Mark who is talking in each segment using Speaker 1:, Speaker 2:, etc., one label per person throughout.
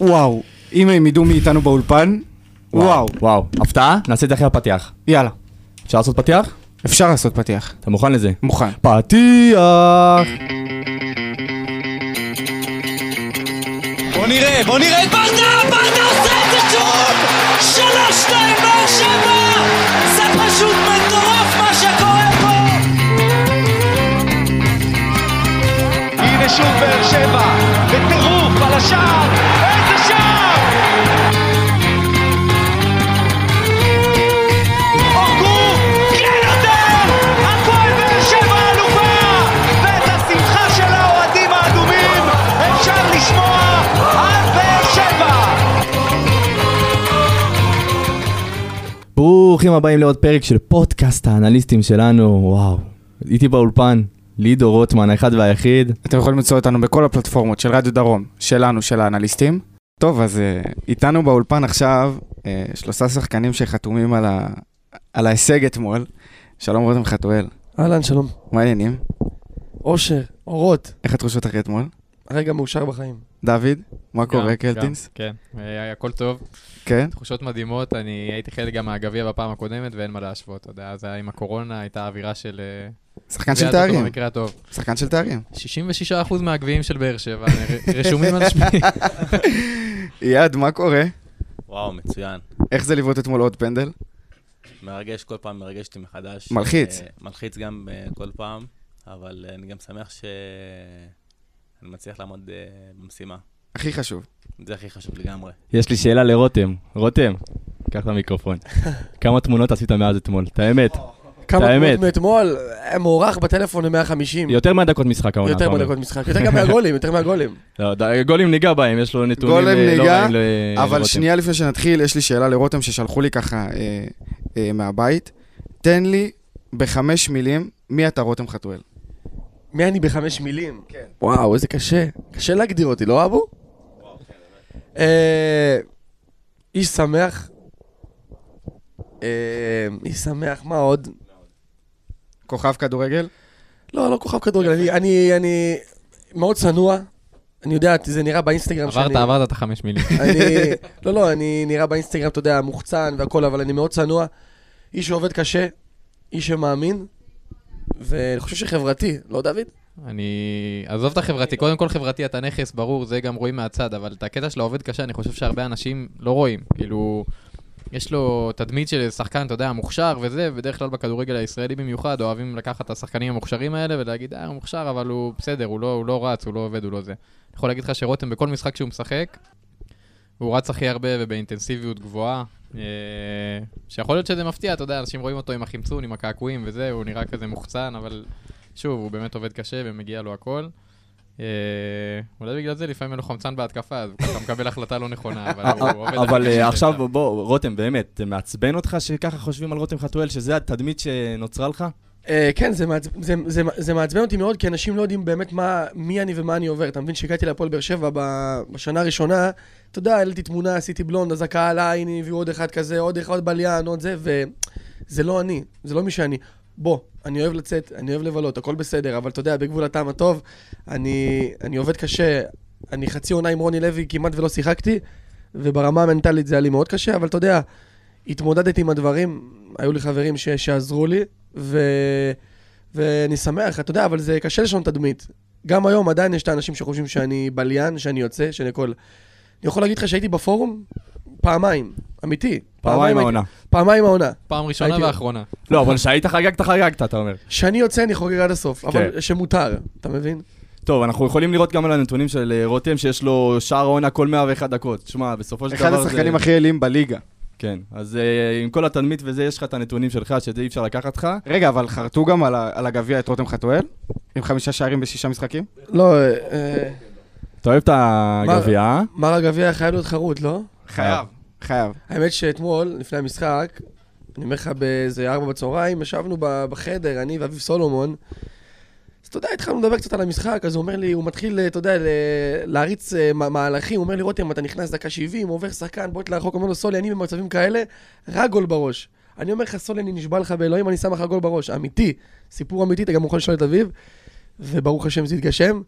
Speaker 1: וואו, אם הם ידעו מי איתנו באולפן, וואו,
Speaker 2: וואו. הפתעה? נעשה את זה אחרי הפתיח.
Speaker 1: יאללה,
Speaker 2: אפשר לעשות פתיח?
Speaker 1: אפשר לעשות פתיח,
Speaker 2: אתה מוכן לזה?
Speaker 1: מוכן.
Speaker 2: פתיח! בוא נראה, בוא נראה את
Speaker 3: ברדה, ברדה עושה את זה שוב! שלוש, שתיים, באר שבע! זה פשוט מטורף מה שקורה פה!
Speaker 4: הנה שוב באר שבע, בטירוף על השער, איזה שער! אורגו, כן נותן! הפועל באר שבע אלופה! ואת השמחה של האוהדים האדומים אפשר לשמוע עד באר שבע!
Speaker 2: ברוכים הבאים לעוד פרק של פודקאסט האנליסטים שלנו, וואו. איתי באולפן, לידו רוטמן, האחד והיחיד.
Speaker 1: אתם יכולים למצוא אותנו בכל הפלטפורמות של רדיו דרום, שלנו, של האנליסטים. טוב, אז אה, איתנו באולפן עכשיו אה, שלושה שחקנים שחתומים על, ה... על ההישג אתמול. שלום רותם חתואל,
Speaker 5: אהלן, שלום.
Speaker 1: מה העניינים?
Speaker 5: אושר, אורות,
Speaker 1: איך התחושות אחרי אתמול?
Speaker 5: רגע מאושר בחיים.
Speaker 1: דוד, מה
Speaker 6: גם,
Speaker 1: קורה,
Speaker 6: גם,
Speaker 1: קלטינס?
Speaker 6: כן, אה, הכל טוב,
Speaker 1: כן?
Speaker 6: תחושות מדהימות, אני הייתי חלק גם מהגביע בפעם הקודמת ואין מה להשוות, אתה יודע, זה היה עם הקורונה, הייתה אווירה של... אה,
Speaker 1: שחקן
Speaker 6: גביע
Speaker 1: של
Speaker 6: הטוטו
Speaker 1: תארים,
Speaker 6: במקרה הטוב.
Speaker 1: שחקן של תארים.
Speaker 6: 66% מהגביעים של באר שבע ר- רשומים על שמי.
Speaker 1: אייד, מה קורה?
Speaker 7: וואו, מצוין.
Speaker 1: איך זה לבעוט אתמול עוד פנדל?
Speaker 7: מרגש, כל פעם מרגש אותי מחדש.
Speaker 1: מלחיץ.
Speaker 7: אה, מלחיץ גם אה, כל פעם, אבל אה, אני גם שמח שאני מצליח לעמוד אה, במשימה.
Speaker 1: הכי חשוב.
Speaker 7: זה הכי חשוב לגמרי.
Speaker 2: יש לי שאלה לרותם. רותם, קח את המיקרופון. כמה תמונות עשית מאז אתמול? את האמת.
Speaker 5: כמה
Speaker 2: האמת.
Speaker 5: דקות מאתמול, אה, מוארך בטלפון ל-150.
Speaker 2: יותר מהדקות משחק העונה.
Speaker 5: יותר
Speaker 2: אתה אומר.
Speaker 5: מדקות משחק, יותר גם מהגולים, יותר מהגולים.
Speaker 2: לא, ד- גולים ניגע בהם, יש לו נתונים
Speaker 1: גולם
Speaker 2: אה, לא
Speaker 1: ניגע,
Speaker 2: רעים ל-
Speaker 1: אבל
Speaker 2: לרותם.
Speaker 1: שנייה לפני שנתחיל, יש לי שאלה לרותם ששלחו לי ככה אה, אה, מהבית. תן לי בחמש מילים, מי אתה רותם חתואל?
Speaker 5: מי אני בחמש מילים? כן. וואו, איזה קשה. קשה להגדיר אותי, לא אבו? אה, איש שמח. אה, איש שמח, מה עוד?
Speaker 1: כוכב כדורגל?
Speaker 5: לא, לא כוכב כדורגל, אני- אני- אני מאוד צנוע. אני יודע, זה נראה באינסטגרם שאני...
Speaker 6: עברת, עברת את החמש מילים.
Speaker 5: אני... לא, לא, אני נראה באינסטגרם, אתה יודע, מוחצן והכל, אבל אני מאוד צנוע. איש שעובד קשה, איש שמאמין, ואני חושב שחברתי, לא דוד?
Speaker 6: אני... עזוב את החברתי, קודם כל חברתי אתה נכס, ברור, זה גם רואים מהצד, אבל את הקטע של העובד קשה, אני חושב שהרבה אנשים לא רואים. כאילו, יש לו תדמית של שחקן, אתה יודע, מוכשר וזה, בדרך כלל בכדורגל הישראלי במיוחד, אוהבים לקחת את השחקנים המוכשרים האלה ולהגיד, אה, הוא מוכשר, אבל הוא בסדר, הוא לא, הוא לא רץ, הוא לא עובד, הוא לא זה. אני יכול להגיד לך שרותם, בכל משחק שהוא משחק, הוא רץ הכי הרבה ובאינטנסיביות גבוהה. אה, שיכול להיות שזה מפתיע, אתה יודע, אנשים רואים אותו עם החמצון, עם הקעקועים וזה, הוא נראה כזה מוחצן, אבל שוב, הוא באמת עובד קשה ומגיע לו הכל. אה, אולי בגלל זה לפעמים אין לו חמצן בהתקפה, אז הוא ככה מקבל החלטה לא נכונה, אבל הוא עובד... הכי
Speaker 2: אבל
Speaker 6: קשה
Speaker 2: אה, עכשיו,
Speaker 6: שאפשר.
Speaker 2: בוא, רותם, באמת, זה מעצבן אותך שככה חושבים על רותם חתואל, שזה התדמית שנוצרה לך?
Speaker 5: אה, כן, זה מעצ- זה- זה- זה מעצבן אותי מאוד, כי אנשים לא יודעים באמת מה, מי אני ומה אני עובר. אתה מבין, כשהגעתי להפועל באר שבע ב- בשנה הראשונה, אתה יודע, העליתי תמונה, עשיתי בלונד, אז הקהל, אה, הנה, הביאו עוד אחד כזה, עוד אחד בליין, עוד זה, וזה לא אני, זה לא מי שאני. בוא, אני אוהב לצאת, אני אוהב לבלות, הכל בסדר, אבל אתה יודע, בגבול הטעם הטוב, אני, אני עובד קשה, אני חצי עונה עם רוני לוי כמעט ולא שיחקתי, וברמה המנטלית זה היה לי מאוד קשה, אבל אתה יודע, התמודדתי עם הדברים, היו לי חברים ש, שעזרו לי, ו, ואני שמח, אתה יודע, אבל זה קשה לשון תדמית. גם היום עדיין יש את האנשים שחושבים שאני בליין, שאני יוצא, שאני הכל. אני יכול להגיד לך שהייתי בפורום פעמיים, אמיתי.
Speaker 2: פעמיים
Speaker 5: הייתי-
Speaker 2: העונה.
Speaker 5: פעמיים העונה.
Speaker 6: פעם ראשונה
Speaker 5: הייתי-
Speaker 6: ואחרונה.
Speaker 2: לא, אבל כשהיית חגגת, חגגת, אתה אומר.
Speaker 5: כשאני יוצא אני חוגג עד הסוף, אבל שמותר, אתה מבין?
Speaker 2: טוב, אנחנו יכולים לראות גם על הנתונים של אה, רותם, שיש לו שער העונה כל 101 דקות. תשמע, בסופו של דבר
Speaker 1: אחד
Speaker 2: זה...
Speaker 1: השחקנים הכי אלים בליגה.
Speaker 2: כן, אז אה, עם כל התדמית וזה, יש לך את הנתונים שלך, שזה אי אפשר לקחת לך.
Speaker 1: רגע, אבל חרטו גם על ה- על הגביע את רותם חתואל? עם חמישה שערים בשישה משחקים?
Speaker 5: לא, אה, אה,
Speaker 2: אתה אוהב את הגביע, אה?
Speaker 5: מר הגביע חייב להיות חרוט, לא?
Speaker 2: חייב.
Speaker 1: חייב.
Speaker 5: האמת שאתמול, לפני המשחק, אני אומר לך באיזה ארבע בצהריים, ישבנו ב- בחדר, אני ואביב סולומון. אז אתה יודע, התחלנו לדבר קצת על המשחק, אז הוא אומר לי, הוא מתחיל, אתה יודע, ל- להריץ אה, מה- מהלכים, הוא אומר לי, רותם, אתה נכנס דקה 70, עובר שחקן, בועט לרחוק, אומר לו, סולי, אני במצבים כאלה, רק גול בראש. אני אומר לך, סולי, אני נשבע לך באלוהים, אני שם לך גול בראש. אמיתי, סיפור אמיתי, אתה גם יכול לשאול את אביב, וברוך השם זה התגשם.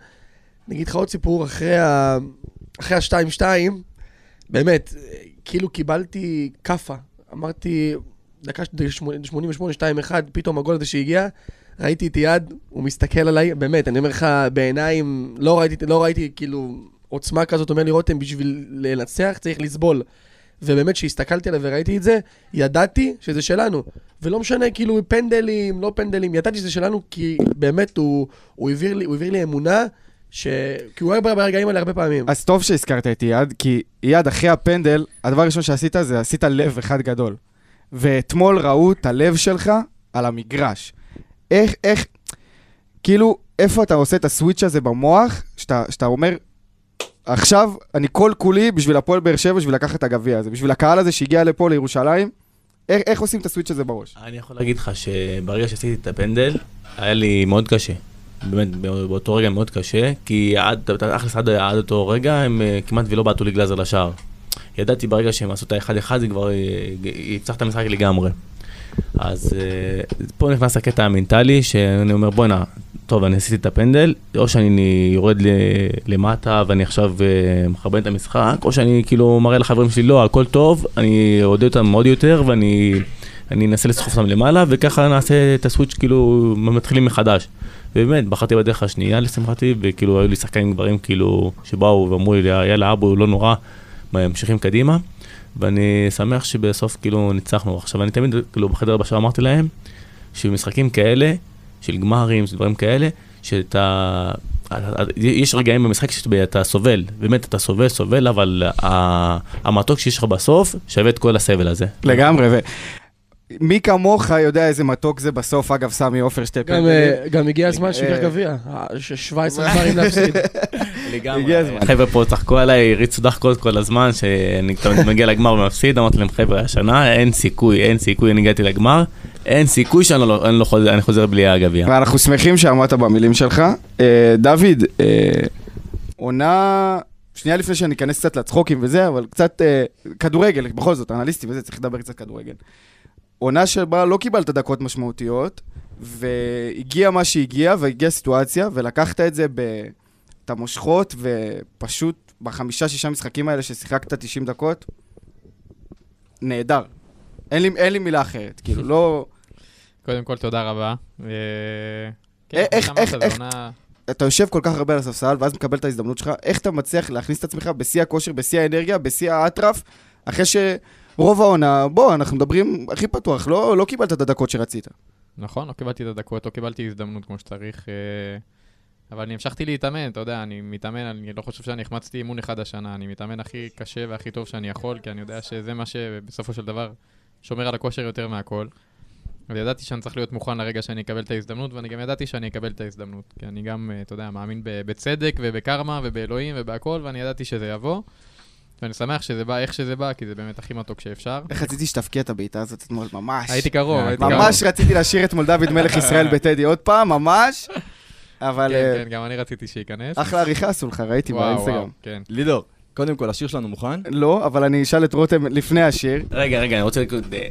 Speaker 5: אני אגיד לך עוד סיפור, אחרי ה... אחרי ה-2-2, באמת, אה, כאילו קיבלתי כאפה. אמרתי, דקה ש- שמונים- 88, 2-1, פתאום הגול הזה שהגיע, ראיתי את יד, הוא מסתכל עליי, באמת, אני אומר לך, בעיניים, לא ראיתי, לא ראיתי כאילו עוצמה כזאת, אומר לי רותם, בשביל לנצח צריך לסבול. ובאמת, כשהסתכלתי עליו וראיתי את זה, ידעתי שזה שלנו. ולא משנה, כאילו, פנדלים, לא פנדלים, ידעתי שזה שלנו, כי באמת, הוא, הוא, העביר, לי, הוא העביר לי אמונה, ש... כי הוא היה ברגעים האלה הרבה פעמים.
Speaker 1: אז טוב שהזכרת את אייד, כי אייד אחרי הפנדל, הדבר הראשון שעשית זה עשית לב אחד גדול. ואתמול ראו את הלב שלך על המגרש. איך, איך, כאילו, איפה אתה עושה את הסוויץ' הזה במוח, שאתה, שאתה אומר, עכשיו אני כל כולי בשביל הפועל באר שבע, בשביל לקחת את הגביע הזה, בשביל הקהל הזה שהגיע לפה לירושלים, איך, איך עושים את הסוויץ' הזה בראש?
Speaker 7: אני יכול להגיד לך שברגע שעשיתי את הפנדל, היה לי מאוד קשה. באמת, בא- באותו רגע מאוד קשה, כי עד, תכלס עד, עד אותו רגע הם אה, כמעט ולא בעטו לי גלאזר לשער. ידעתי ברגע שהם עשו את האחד-אחד, זה כבר אה, ג- יפתח את המשחק לגמרי. אז אה, פה נכנס הקטע המנטלי, שאני אומר, בואנה, טוב, אני עשיתי את הפנדל, או שאני יורד ל- למטה ואני עכשיו אה, מכבד את המשחק, או שאני כאילו מראה לחברים שלי, לא, הכל טוב, אני אודה אותם עוד יותר ואני אני אנסה לסחוף אותם למעלה, וככה נעשה את הסוויץ' כאילו מתחילים מחדש. ובאמת, בחרתי בדרך השנייה לשמחתי, וכאילו היו לי שחקנים גברים כאילו, שבאו ואמרו לי, יאללה אבו, לא נורא, מה, ממשיכים קדימה. ואני שמח שבסוף כאילו ניצחנו. עכשיו, אני תמיד כאילו בחדר הבשל אמרתי להם, שבמשחקים כאלה, של גמרים, של דברים כאלה, שאתה... אה, יש רגעים במשחק שאתה סובל, באמת אתה סובל, סובל, אבל ה- המתוק שיש לך בסוף שווה את כל הסבל הזה.
Speaker 1: לגמרי, ו... מי כמוך יודע איזה מתוק זה בסוף, אגב, סמי עופר שתי
Speaker 5: גם,
Speaker 1: פנדלים.
Speaker 5: אה, גם הגיע הזמן
Speaker 1: אה,
Speaker 5: שייקח גביע, אה, ש- 17 דברים להפסיד.
Speaker 1: הגיע
Speaker 7: לגמרי.
Speaker 1: הזמן.
Speaker 7: החבר'ה פה צחקו עליי, הריצו דחקות כל הזמן, שאני תמיד מגיע לגמר ומפסיד, אמרתי להם חבר'ה, השנה אין סיכוי, אין סיכוי, אני הגעתי לגמר, אין סיכוי שאני לא- אני לא חוזר- אני חוזר בלי הגביע.
Speaker 1: ואנחנו שמחים שעמדת במילים שלך. אה, דוד, אה, עונה... שנייה לפני שאני אכנס קצת לצחוקים וזה, אבל קצת אה, כדורגל, בכל זאת, אנליסטים וזה, צריך לדבר קצת כדורגל. עונה שבה לא קיבלת דקות משמעותיות, והגיע מה שהגיע, והגיעה סיטואציה, ולקחת את זה ב... את המושכות, ופשוט בחמישה-שישה משחקים האלה ששיחקת 90 דקות, נהדר. אין לי, אין לי מילה אחרת, כאילו, לא...
Speaker 6: קודם כל, תודה רבה. אה, כן,
Speaker 1: אה,
Speaker 6: כמו
Speaker 1: איך-
Speaker 6: שאמרת,
Speaker 1: איך-
Speaker 6: זו
Speaker 1: איך-
Speaker 6: עונה-
Speaker 1: אתה יושב כל כך הרבה על הספסל, ואז מקבל את ההזדמנות שלך, איך אתה מצליח להכניס את עצמך בשיא הכושר, בשיא האנרגיה, בשיא האטרף, אחרי שרוב העונה, בוא, אנחנו מדברים הכי פתוח, לא, לא קיבלת את הדקות שרצית.
Speaker 6: נכון, לא קיבלתי את הדקות, לא קיבלתי הזדמנות כמו שצריך, אה, אבל אני המשכתי להתאמן, אתה יודע, אני מתאמן, אני לא חושב שאני החמצתי אימון אחד השנה, אני מתאמן הכי קשה והכי טוב שאני יכול, כי אני יודע שזה מה שבסופו של דבר שומר על הכושר יותר מהכל. וידעתי שאני צריך להיות מוכן לרגע שאני אקבל את ההזדמנות, ואני גם ידעתי שאני אקבל את ההזדמנות, כי אני גם, אה, אתה יודע, מאמין ב- בצדק ובקרמה ובאלוהים ובהכל, ואני ידעתי שזה יבוא, ואני שמח שזה בא איך שזה בא, כי זה באמת הכי מתוק שאפשר.
Speaker 1: איך רציתי שתבקיע את הבעיטה הזאת אתמול, ממש.
Speaker 6: הייתי קרוב, הייתי קרוב.
Speaker 1: ממש רציתי להשאיר אתמול דוד מלך ישראל בטדי עוד פעם, ממש, אבל
Speaker 6: כן,
Speaker 1: אה,
Speaker 6: כן, גם אני רציתי שייכנס.
Speaker 1: אחלה עריכה עשו לך, ראיתי
Speaker 6: וואו,
Speaker 1: באינסטגרם.
Speaker 6: וואו, כן.
Speaker 2: לידור, קודם כל, השיר שלנו מוכן?
Speaker 1: לא, אבל אני אשאל את רותם לפני השיר,
Speaker 7: רגע, רגע, אני רוצה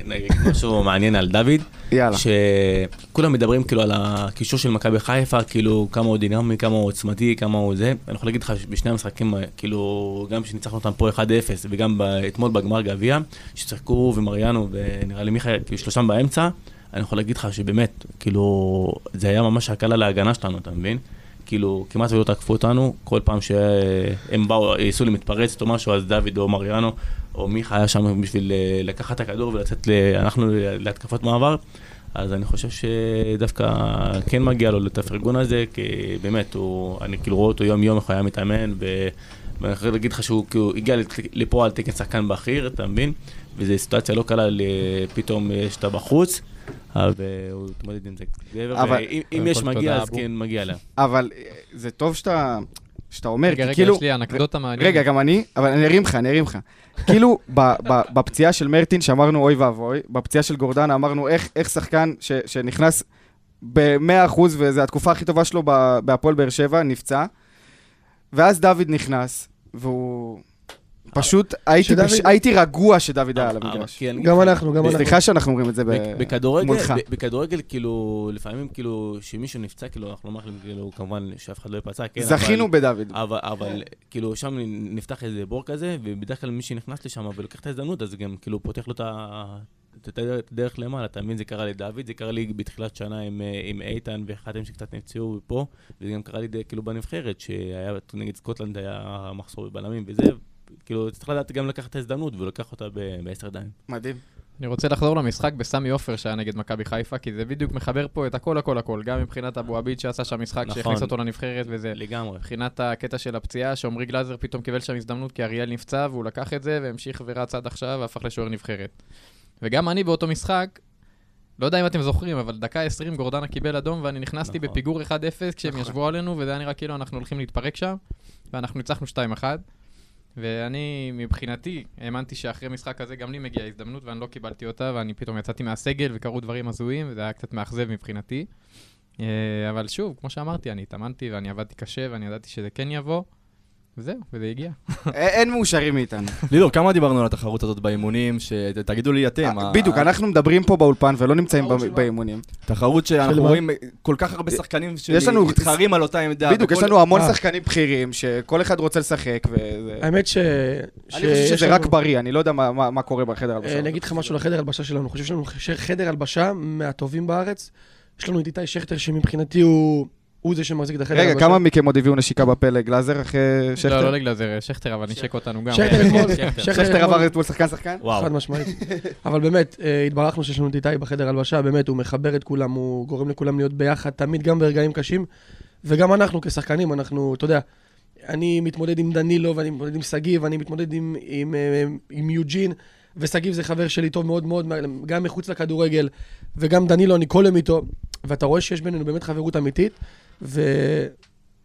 Speaker 7: להגיד משהו מעניין על דוד.
Speaker 1: יאללה.
Speaker 7: שכולם מדברים כאילו על הקישור של מכבי חיפה, כאילו כמה הוא דינמי, כמה הוא עוצמתי, כמה הוא זה. אני יכול להגיד לך שבשני המשחקים, אה, כאילו, גם שניצחנו אותם פה 1-0 וגם ב- אתמול בגמר גביע, שצחקו ומריאנו ונראה לי מיכאל, כאילו שלושתם באמצע, אני יכול להגיד לך שבאמת, כאילו, זה היה ממש הקלה להגנה שלנו, אתה מבין? כאילו, כמעט ולא תקפו אותנו, כל פעם שהם באו, ניסו לי מתפרצת או משהו, אז דוד או מריאנו או מיכה היה שם בשביל אה, לקחת את הכדור ולצאת, ל- אנחנו להתקפת מעבר. אז אני חושב שדווקא כן מגיע לו את הפרגון הזה, כי באמת, הוא, אני כאילו רואה אותו יום-יום, איך הוא היה מתאמן, ו... ואני יכול להגיד לך שהוא כאילו הגיע לת- לפה על תקן שחקן בכיר, אתה מבין? וזו סיטואציה לא קלה, ל- פתאום אה, שאתה בחוץ, אבל הוא התמודד עם זה.
Speaker 1: אבל-
Speaker 7: אבל אם אם
Speaker 6: קודם
Speaker 7: יש
Speaker 6: כל,
Speaker 7: מגיע,
Speaker 6: תודה,
Speaker 7: אז
Speaker 6: אבו.
Speaker 7: כן מגיע לה.
Speaker 1: אבל אה, זה טוב שאתה, שאתה אומר,
Speaker 6: רגע,
Speaker 1: כי
Speaker 6: רגע,
Speaker 1: כאילו...
Speaker 6: יש לי אנקדוטה מעניינת.
Speaker 1: רגע, גם אני, אבל אני ארים לך, אני ארים לך. כאילו, ב- ב- בפציעה של מרטין שאמרנו אוי ואבוי, בפציעה של גורדנה אמרנו איך, איך שחקן ש, שנכנס ב-100% וזו התקופה הכי טובה שלו ב- בהפועל באר שבע, נפצע. ואז דוד נכנס, והוא... פשוט הייתי
Speaker 5: שדוד-
Speaker 1: בש- הייתי רגוע שדוד היה על
Speaker 7: אבל-
Speaker 1: המגרש.
Speaker 7: כי אני אגיד
Speaker 5: גם
Speaker 7: לך,
Speaker 5: אנחנו, גם אנחנו.
Speaker 1: סליחה שאנחנו אומרים את זה ב-
Speaker 7: בכ- בכדורגל,
Speaker 1: מולך.
Speaker 7: ב- בכדורגל, כאילו, לפעמים, כאילו, שמישהו נפצע, כאילו, אנחנו לא מאחלים, כאילו, כמובן, שאף אחד לא ייפצע, כן, אבל-
Speaker 1: זכינו בדוד.
Speaker 7: אבל, אבל כאילו, שם נפתח איזה בור כזה, ובדרך כלל מי שנכנס לשם ולוקח את ההזדמנות, אז גם כאילו פותח לו את ה... את הדרך למעלה, אתה מבין? זה קרה לדוד, זה קרה לי בתחילת שנה עם, אה, עם איתן ואחדים שקצת נפצעו פה, וזה גם קרה לי די, כאילו בנבחרת, שהיה נגד סקוטלנד היה מחסור בבלמים וזה, כאילו צריך לדעת גם לקחת את ההזדמנות ולקח אותה ב- בעשר דיים.
Speaker 1: מדהים.
Speaker 6: אני רוצה לחזור למשחק בסמי עופר שהיה נגד מכבי חיפה, כי זה בדיוק מחבר פה את הכל הכל הכל, גם מבחינת אבו עביד שעשה שם משחק
Speaker 7: נכון.
Speaker 6: שהכניס אותו לנבחרת וזה.
Speaker 7: לגמרי.
Speaker 6: מבחינת הקטע של הפציעה, שעמרי גלאזר פתאום קיבל שם הזדמנות כי אריאל נפצע והוא לקח את זה והמשיך ורץ עד עכשיו והפך לשוער נבחרת. וגם אני באותו משחק, לא יודע אם אתם זוכרים, אבל דקה 20 גורדנה קיבל אדום ואני נכנסתי
Speaker 7: נכון.
Speaker 6: בפיגור 1-0 כשהם ישבו עלינו וזה היה נראה כאילו אנחנו הולכים להתפרק שם ואנחנו ניצחנו 2-1. ואני מבחינתי האמנתי שאחרי משחק כזה גם לי מגיעה הזדמנות ואני לא קיבלתי אותה ואני פתאום יצאתי מהסגל וקרו דברים הזויים וזה היה קצת מאכזב מבחינתי. אה, אבל שוב, כמו שאמרתי, אני התאמנתי ואני עבדתי קשה ואני ידעתי שזה כן יבוא, וזהו, וזה הגיע.
Speaker 1: א- אין מאושרים מאיתנו.
Speaker 2: לידור, כמה דיברנו על התחרות הזאת באימונים? ש- ת- תגידו לי
Speaker 7: כן,
Speaker 2: אתם. אה, ה-
Speaker 1: אה, בדיוק,
Speaker 7: אה,
Speaker 2: ה-
Speaker 1: אנחנו מדברים פה באולפן ולא נמצאים
Speaker 5: תחרות
Speaker 1: ב-
Speaker 5: של מה?
Speaker 1: באימונים.
Speaker 2: תחרות שאנחנו
Speaker 5: מה?
Speaker 2: רואים כל כך הרבה שחקנים
Speaker 1: יש לנו-
Speaker 2: שמתחרים על אותה
Speaker 7: לא,
Speaker 2: עמדה.
Speaker 1: בדיוק, יש
Speaker 2: וכל-
Speaker 1: לנו המון
Speaker 2: אה,
Speaker 1: שחקנים בכירים שכל אחד רוצה לשחק. וזה-
Speaker 5: האמת ש...
Speaker 1: אני חושב
Speaker 5: שיש
Speaker 1: שזה
Speaker 5: לנו-
Speaker 1: רק בריא, אני לא יודע מה- מה מה קורה בחדר
Speaker 5: אה,
Speaker 1: הלבשה.
Speaker 5: אני אגיד לך משהו לחדר הלבשה שלנו, אני חושב שיש לנו ש- חדר הלבשה מהטובים בארץ. יש לנו את איתי שכטר שמבחינתי הוא הוא זה שמחזיק את החדר
Speaker 1: רגע,
Speaker 5: הלבשה.
Speaker 1: כמה מכם עוד הביאו נשיקה בפה לגלאזר אחרי
Speaker 6: לא,
Speaker 1: שכטר?
Speaker 6: לא לגלזר, שכטר, אבל נשק אותנו גם. אה,
Speaker 5: שכטר אתמול,
Speaker 1: שכטר
Speaker 5: אתמול-
Speaker 1: עבר אתמול שחקן שחקן?
Speaker 7: וואו.
Speaker 5: חד משמעית. אבל באמת, אה, התברכנו שיש לנו את איתי בחדר הלבשה, באמת, הוא מחבר את כולם, הוא גורם לכולם להיות ביחד, תמיד גם ברגעים קשים. וגם אנחנו כשחקנים, אנחנו, אתה יודע, אני מתמודד עם דנילו, ואני מתמודד עם שגיב, ואני מתמודד עם, עם, אה, עם יוג'ין, ושגיב זה חבר שלי טוב מאוד מאוד, גם מחוץ לכדורגל, וגם דנילו, אני כל יום איתו, ואתה רואה שיש בינינו באמת חברות אמיתית, ו...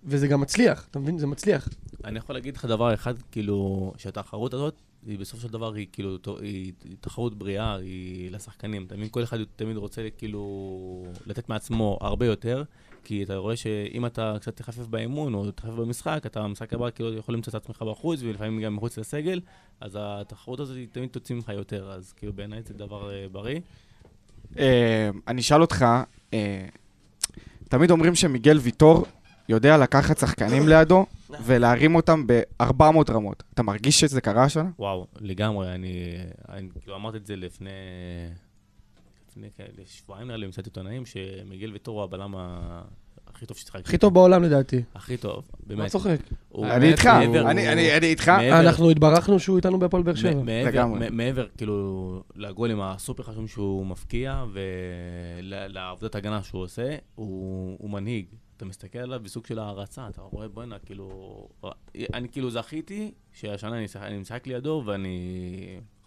Speaker 5: וזה גם מצליח, אתה מבין? זה מצליח.
Speaker 7: אני יכול להגיד לך דבר אחד, כאילו, שהתחרות הזאת, היא בסופו של דבר היא כאילו, ת- היא היא תחרות בריאה, היא לשחקנים. אתה מבין? כל אחד תמיד רוצה כאילו לתת מעצמו הרבה יותר, כי אתה רואה שאם אתה קצת תחפף באימון או תחפף במשחק, אתה במשחק הבא כאילו יכול למצוא את עצמך בחוץ, ולפעמים גם מחוץ לסגל, אז התחרות הזאת היא תמיד תוציא ממך יותר, אז כאילו בעיניי זה דבר אה, בריא.
Speaker 1: אה, אני אשאל אותך, אה, תמיד אומרים שמיגל ויטור יודע לקחת שחקנים לידו ולהרים אותם ב-400 רמות. אתה מרגיש שזה קרה השנה?
Speaker 7: וואו, לגמרי, אני, אני כאילו אמרתי את זה לפני, לפני כאלה שבועיים נראה לי במסיבת עיתונאים, שמיגל ויטור הוא הבלם ה- הכי טוב ששיחק.
Speaker 5: הכי טוב בעולם לדעתי.
Speaker 7: הכי טוב,
Speaker 5: מה
Speaker 7: באמת.
Speaker 5: צוחק? אה,
Speaker 7: הוא-
Speaker 1: לא, אני איתך,
Speaker 7: מעבר-
Speaker 1: אני- אני אני איתך.
Speaker 7: מעבר-
Speaker 5: אנחנו התברכנו שהוא איתנו בהפועל באר שבע.
Speaker 7: מ- מעבר-
Speaker 1: לגמרי.
Speaker 7: מ- מעבר, כאילו, לגולים הסופר חשובים שהוא מפקיע, ולעבודת הגנה שהוא עושה, הוא הוא מנהיג. אתה מסתכל עליו בסוג של הערצה, אתה רואה, בואנה, כאילו... אני כאילו זכיתי שהשנה אני משחק- אני משחק לידו ואני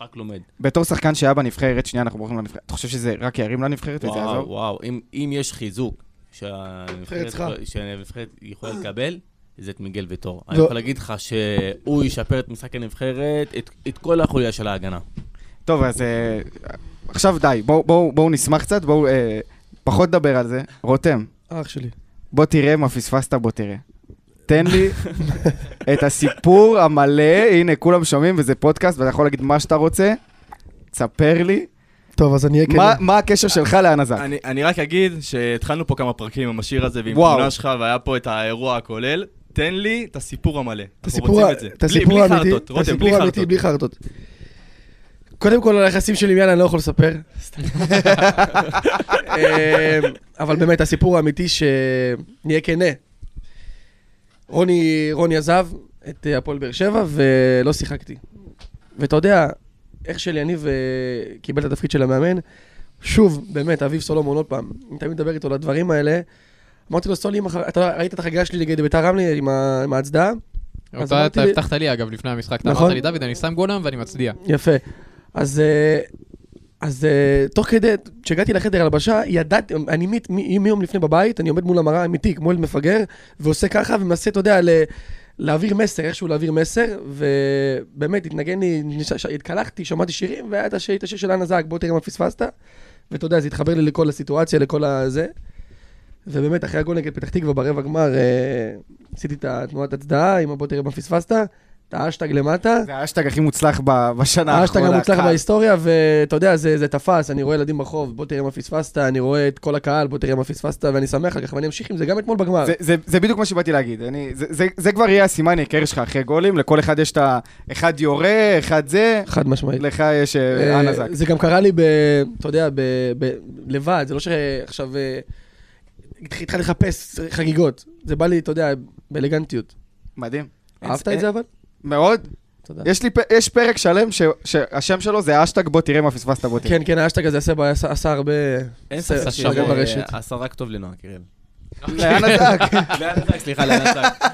Speaker 7: רק לומד.
Speaker 1: בתור שחקן שהיה בנבחרת, שנייה, אנחנו בורחים לנבחרת, אתה חושב שזה רק ירים לנבחרת וזה
Speaker 7: וואו,
Speaker 1: יעזור?
Speaker 7: וואו, אם, אם יש חיזוק שהנבחרת
Speaker 5: צריכה.
Speaker 7: יכול- שהנבחרת יכולה לקבל, זה את מיגל ויטור. אני
Speaker 5: ו-
Speaker 7: יכול להגיד לך שהוא ישפר את משחק הנבחרת, את, את כל החוליה של ההגנה.
Speaker 1: טוב, אז אה, עכשיו די, בואו- בואו בואו נשמח קצת, בואו אה, פחות נדבר על זה. רותם,
Speaker 5: אח שלי.
Speaker 1: בוא תראה מה פספסת, בוא תראה. תן לי את הסיפור המלא, הנה, כולם שומעים, וזה פודקאסט, ואתה יכול להגיד מה שאתה רוצה. תספר לי
Speaker 5: טוב, אז אני אהיה
Speaker 1: מה- מה הקשר שלך להנזק.
Speaker 2: אני, אני רק אגיד שהתחלנו פה כמה פרקים עם השיר הזה ועם
Speaker 1: וואו.
Speaker 2: תמונה שלך, והיה פה את האירוע הכולל. תן לי את הסיפור המלא.
Speaker 5: את
Speaker 2: אנחנו
Speaker 5: הסיפור,
Speaker 2: רוצים
Speaker 5: ה-
Speaker 2: את זה.
Speaker 5: את הסיפור
Speaker 2: בלי,
Speaker 5: האמיתי,
Speaker 2: בלי חרטות,
Speaker 5: את
Speaker 2: רותם,
Speaker 5: הסיפור
Speaker 2: בלי
Speaker 5: האמיתי
Speaker 2: חרטות.
Speaker 5: בלי חרטות. קודם כל, על היחסים שלי עם יאנה אני לא יכול לספר. סתם. אה, אבל באמת, הסיפור האמיתי שנהיה כנה. רוני, רוני עזב את אה, הפועל באר שבע ולא שיחקתי. ואתה יודע, איך שליניב אה, קיבל את התפקיד של המאמן, שוב, באמת, אביב סולומון עוד פעם, אני תמיד מדבר איתו על הדברים האלה. אמרתי לו, סולי, מחר- אתה ראית את החגיגה שלי נגד ביתר רמלה עם ה- עם ההצדעה? אז
Speaker 6: אותה
Speaker 5: אמרתי
Speaker 6: אתה
Speaker 5: לי-
Speaker 6: הבטחת לי אגב לפני המשחק, אתה
Speaker 5: נכון.
Speaker 6: אמרת לי דוד, אני שם גולם ואני מצדיע.
Speaker 5: יפה. אז, אה, אז אה, תוך כדי, כשהגעתי לחדר הלבשה, ידעתי, אני מי- מי- מיום לפני בבית, אני עומד מול המראה אמיתי, כמו ילד מפגר, ועושה ככה ומנסה, אתה יודע, ל- להעביר מסר, איכשהו להעביר מסר, ובאמת, התנגן לי, נש- ש- התקלחתי, שמעתי שירים, והיה את השיר את השיר של אנה זק, בוא תראה מה פספסת, ואתה יודע, זה התחבר לי לכל הסיטואציה, לכל הזה. ובאמת, אחרי הגול נגד פתח תקווה ברבע גמר, אה, עשיתי את התנועת הצדעה עם הבוא תראה מה פספסת, את האשטג למטה.
Speaker 1: זה האשטג הכי מוצלח ב- בשנה האחרונה.
Speaker 5: האשטג המוצלח
Speaker 1: קל.
Speaker 5: בהיסטוריה, ואתה יודע, זה זה תפס, אני רואה ילדים ברחוב, בוא תראה מה פספסת, אני רואה את כל הקהל, בוא תראה מה פספסת, ואני שמח על כך, ואני אמשיך עם זה גם אתמול בגמר.
Speaker 1: זה, זה, זה בדיוק מה שבאתי להגיד. אני, זה, זה, זה כבר יהיה הסימן העיקרי שלך אחרי גולים, לכל אחד יש את ה... אחד יורה, אחד זה,
Speaker 5: חד משמעית.
Speaker 1: לך יש אה,
Speaker 5: אה,
Speaker 1: אנה זק.
Speaker 5: זה גם קרה לי, ב, אתה יודע, ב, ב, לבד, זה לא שעכשיו אה, התח- התחלתי לחפש חגיגות. זה בא לי, אתה יודע, באלגנטיות.
Speaker 1: מדהים.
Speaker 5: אהבת את זה אבל?
Speaker 1: מאוד.
Speaker 5: תודה.
Speaker 1: יש, לי, פ- יש פרק שלם ש, שהשם שלו זה האשטג בוא תראה מה פספסת בוא תראה.
Speaker 5: כן, כן, האשטג הזה עשה בעיה, עשה עשה הרבה...
Speaker 7: אין
Speaker 5: עשה-
Speaker 7: ספק
Speaker 5: עשה גם ברשת.
Speaker 7: שזה עשה רק טוב לנועה, קיריל.
Speaker 5: כן.
Speaker 1: לאנה זק.
Speaker 7: לאן זק, סליחה, לאן זק.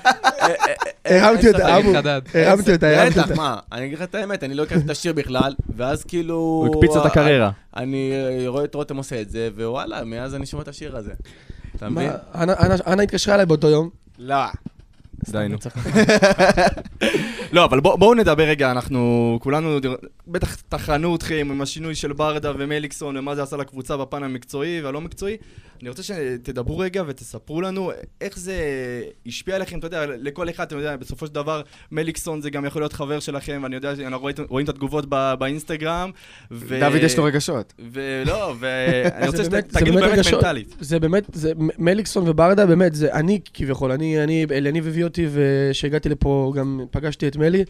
Speaker 5: הרמתי אותה,
Speaker 6: תגיד
Speaker 5: אבו.
Speaker 6: חדד.
Speaker 5: הרמתי אותה, הרמתי
Speaker 7: בטח,
Speaker 5: אותה.
Speaker 7: מה, אני אגיד לך את האמת, אני לא הכרתי את השיר בכלל, ואז כאילו...
Speaker 2: הוא הקפיץ את הקריירה.
Speaker 7: אני אה, רואה את רותם עושה את זה, ווואלה, מאז אני שומע את השיר הזה. אתה
Speaker 5: מה,
Speaker 7: מבין?
Speaker 5: אנה- אנה- אנה התקשרה אליי באותו יום.
Speaker 1: לא.
Speaker 2: די, נו. לא, אבל בוא- בואו נדבר רגע, אנחנו כולנו, בטח טחנו אתכם עם השינוי של ברדה ומליקסון ומה זה עשה לקבוצה בפן המקצועי והלא מקצועי. אני רוצה שתדברו רגע ותספרו לנו איך זה השפיע עליכם, אתה יודע, לכל אחד, אתה יודע, בסופו של דבר מליקסון זה גם יכול להיות חבר שלכם, ואני יודע, אנחנו רואים- רואים את התגובות ב- באינסטגרם. ו-
Speaker 1: דוד יש לו רגשות.
Speaker 2: ולא, ואני
Speaker 5: זה
Speaker 2: רוצה
Speaker 5: באמת- זה
Speaker 2: שתגידו באמת
Speaker 5: רגשות.
Speaker 2: מנטלית.
Speaker 5: זה באמת, זה מ- מליקסון וברדה, באמת, זה אני כביכול, אני, אני, אליניב הביא אותי, וכשהגעתי לפה גם פגשתי את מלי,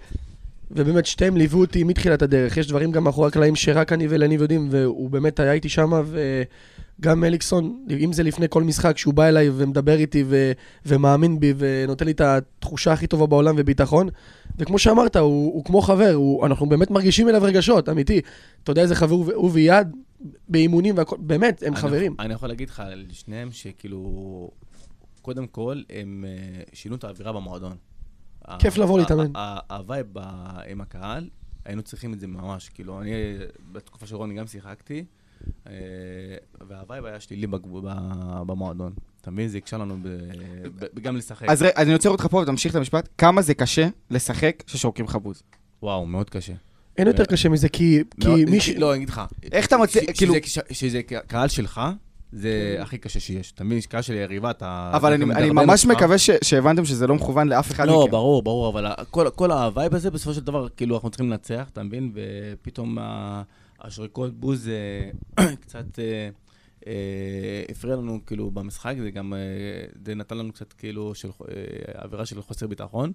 Speaker 5: ובאמת שתיהם ליוו אותי מתחילת הדרך. יש דברים גם מאחורי הקלעים שרק אני ואליניב יודעים, והוא באמת היה איתי שמה, וגם מליקסון, אם זה לפני כל משחק, שהוא בא אליי ומדבר איתי ו, ומאמין בי, ונותן לי את התחושה הכי טובה בעולם וביטחון. וכמו שאמרת, הוא, הוא כמו חבר, הוא, אנחנו באמת מרגישים אליו רגשות, אמיתי. אתה יודע איזה חבר הוא ו- הוא ויד, באימונים והכל, באמת, הם
Speaker 7: אני-
Speaker 5: חברים.
Speaker 7: אני יכול להגיד לך על שניהם שכאילו, קודם כל, הם אה, שינו את האווירה במועדון.
Speaker 5: כיף
Speaker 7: ה-
Speaker 5: לבוא
Speaker 7: ה-
Speaker 5: להתאמן.
Speaker 7: ה- הווייב ב- עם הקהל, היינו צריכים את זה ממש. כאילו, אני אה, בתקופה של רוני גם שיחקתי, אה, והווייב היה שלילי בג- ב- במועדון. אתה מבין? זה הקשה לנו ב- ב- גם לשחק.
Speaker 1: אז רגע, אז אני עוצר אותך פה ותמשיך את המשפט. כמה זה קשה לשחק כששורקים לך בוז.
Speaker 7: וואו, מאוד קשה.
Speaker 5: אין יותר קשה מזה, כי
Speaker 7: מאוד-
Speaker 5: מי ש...
Speaker 7: לא, אני אגיד לך.
Speaker 1: איך אתה מצליח,
Speaker 7: ש-
Speaker 1: כאילו- כן.
Speaker 7: שזה- שזה קהל שלך, זה הכי קשה שיש. אתה מבין? קהל של יריבה, אתה...
Speaker 1: אבל
Speaker 7: אתה
Speaker 1: אני-
Speaker 7: מקבל
Speaker 1: אני
Speaker 7: הרבה
Speaker 1: ממש
Speaker 7: נוסחה.
Speaker 1: מקווה ש- שהבנתם שזה לא מכוון לאף אחד מכם.
Speaker 7: לא, ברור, ברור, אבל ה- כל- כל הווייב הזה, בסופו של דבר, כאילו, אנחנו צריכים לנצח, אתה מבין? ופתאום ה- השריקות בוז אה, קצת אה, אה, הפריע לנו, כאילו, במשחק, זה גם, אה, זה נתן לנו קצת, כאילו, של חו- אה, אווירה של חוסר ביטחון.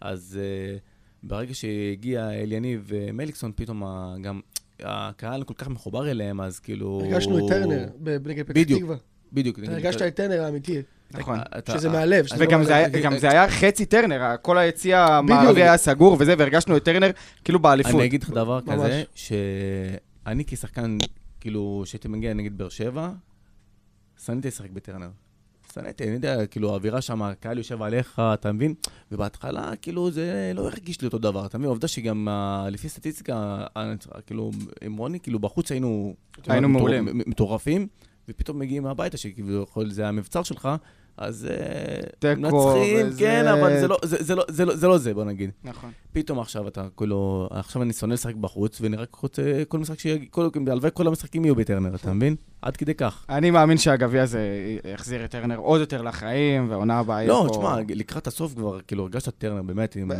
Speaker 7: אז אה, ברגע שהגיע אליניב ומליקסון, פתאום ה- גם הקהל כל כך מחובר אליהם, אז כאילו...
Speaker 5: הרגשנו את טרנר ב- נגד פתח
Speaker 7: בדיוק.
Speaker 5: תקווה.
Speaker 7: בדיוק.
Speaker 5: אתה הרגשת את טרנר האמיתי,
Speaker 1: נכון.
Speaker 7: אתה-
Speaker 5: שזה מהלב. שזה
Speaker 1: וגם
Speaker 5: לא
Speaker 1: זה היה-
Speaker 5: מהלב.
Speaker 1: גם זה היה חצי טרנר, כל היציע המערבי היה סגור וזה, והרגשנו את טרנר כאילו באליפות.
Speaker 7: אני אגיד לך דבר
Speaker 5: ממש.
Speaker 7: כזה, שאני כשחקן, כאילו, שהייתי מגיע נגד באר שבע, שנאתי לשחק בטרנר. שנאתי, אני יודע, כאילו, האווירה שם, הקהל יושב עליך, אתה מבין? ובהתחלה, כאילו, זה לא הרגיש לי אותו דבר, אתה מבין? העובדה שגם אה, לפי סטטיסטיקה, אה, כאילו, עם רוני, כאילו, בחוץ היינו...
Speaker 1: היינו
Speaker 7: מטור-
Speaker 1: מעולים.
Speaker 7: מ- מטורפים, ופתאום מגיעים מהביתה, שכביכול זה המבצר שלך, אז... אה,
Speaker 1: תיקו,
Speaker 7: מנצחים,
Speaker 1: וזה-
Speaker 7: כן, אבל זה לא- זה- זה לא- זה לא- זה לא זה, בוא נגיד.
Speaker 1: נכון.
Speaker 7: פתאום עכשיו אתה, כאילו, עכשיו אני שונא לשחק בחוץ, ואני רק רוצה כל משחק שיגיע, כל- הלוואי כל המשחקים יהיו בטרנר, אתה מבין? עד כדי כך.
Speaker 1: אני מאמין שהגביע הזה יחזיר את טרנר עוד יותר לחיים, והעונה הבאה יהיה פה...
Speaker 7: לא, תשמע, לקראת הסוף כבר, כאילו, הרגשת טרנר באמת עם...
Speaker 1: ב-
Speaker 7: אה,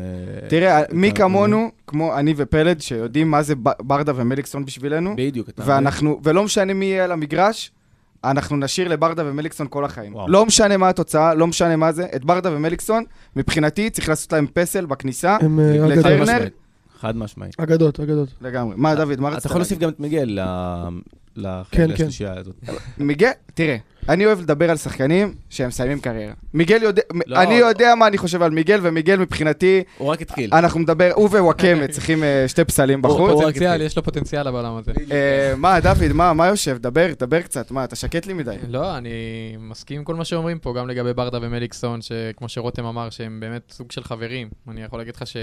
Speaker 1: תראה, מי
Speaker 7: אתה-
Speaker 1: כמונו, כמו אני ופלד, שיודעים מה זה ב- ברדה ומליקסון בשבילנו,
Speaker 7: בדיוק, אתה מבין?
Speaker 1: ואנחנו, ולא משנה מי יהיה על המגרש, אנחנו נשאיר לברדה ומליקסון כל החיים.
Speaker 7: וואו.
Speaker 1: לא משנה מה התוצאה, לא משנה מה זה, את ברדה ומליקסון, מבחינתי צריך לעשות להם פסל בכניסה,
Speaker 5: הם אה,
Speaker 7: חד
Speaker 1: לטרנר?
Speaker 5: אגדות.
Speaker 7: משמעית, חד משמעית.
Speaker 5: אגדות, אגדות.
Speaker 1: לגמרי. מה, דוד, מה רצית
Speaker 7: אתה יכול להוסיף גם את מיגל ל- לח-
Speaker 5: כן, כן.
Speaker 7: לשלישייה הזאת.
Speaker 1: מיגל, תראה, אני אוהב לדבר על שחקנים שהם מסיימים קריירה. מיגל יודע,
Speaker 7: לא.
Speaker 1: אני יודע מה אני חושב על מיגל, ומיגל מבחינתי,
Speaker 7: הוא רק התחיל.
Speaker 1: אנחנו מדבר, הוא ווואקמה צריכים אה, שתי פסלים בחוץ.
Speaker 6: פוטנציאל, יש לו פוטנציאל בעולם הזה.
Speaker 1: אה, מה, דוד, מה, מה יושב? דבר, דבר קצת, מה, אתה שקט לי מדי.
Speaker 6: לא, אני מסכים עם כל מה שאומרים פה, גם לגבי ברדה ומליקסון, שכמו שרותם אמר, שהם באמת סוג של חברים. אני יכול להגיד לך ש...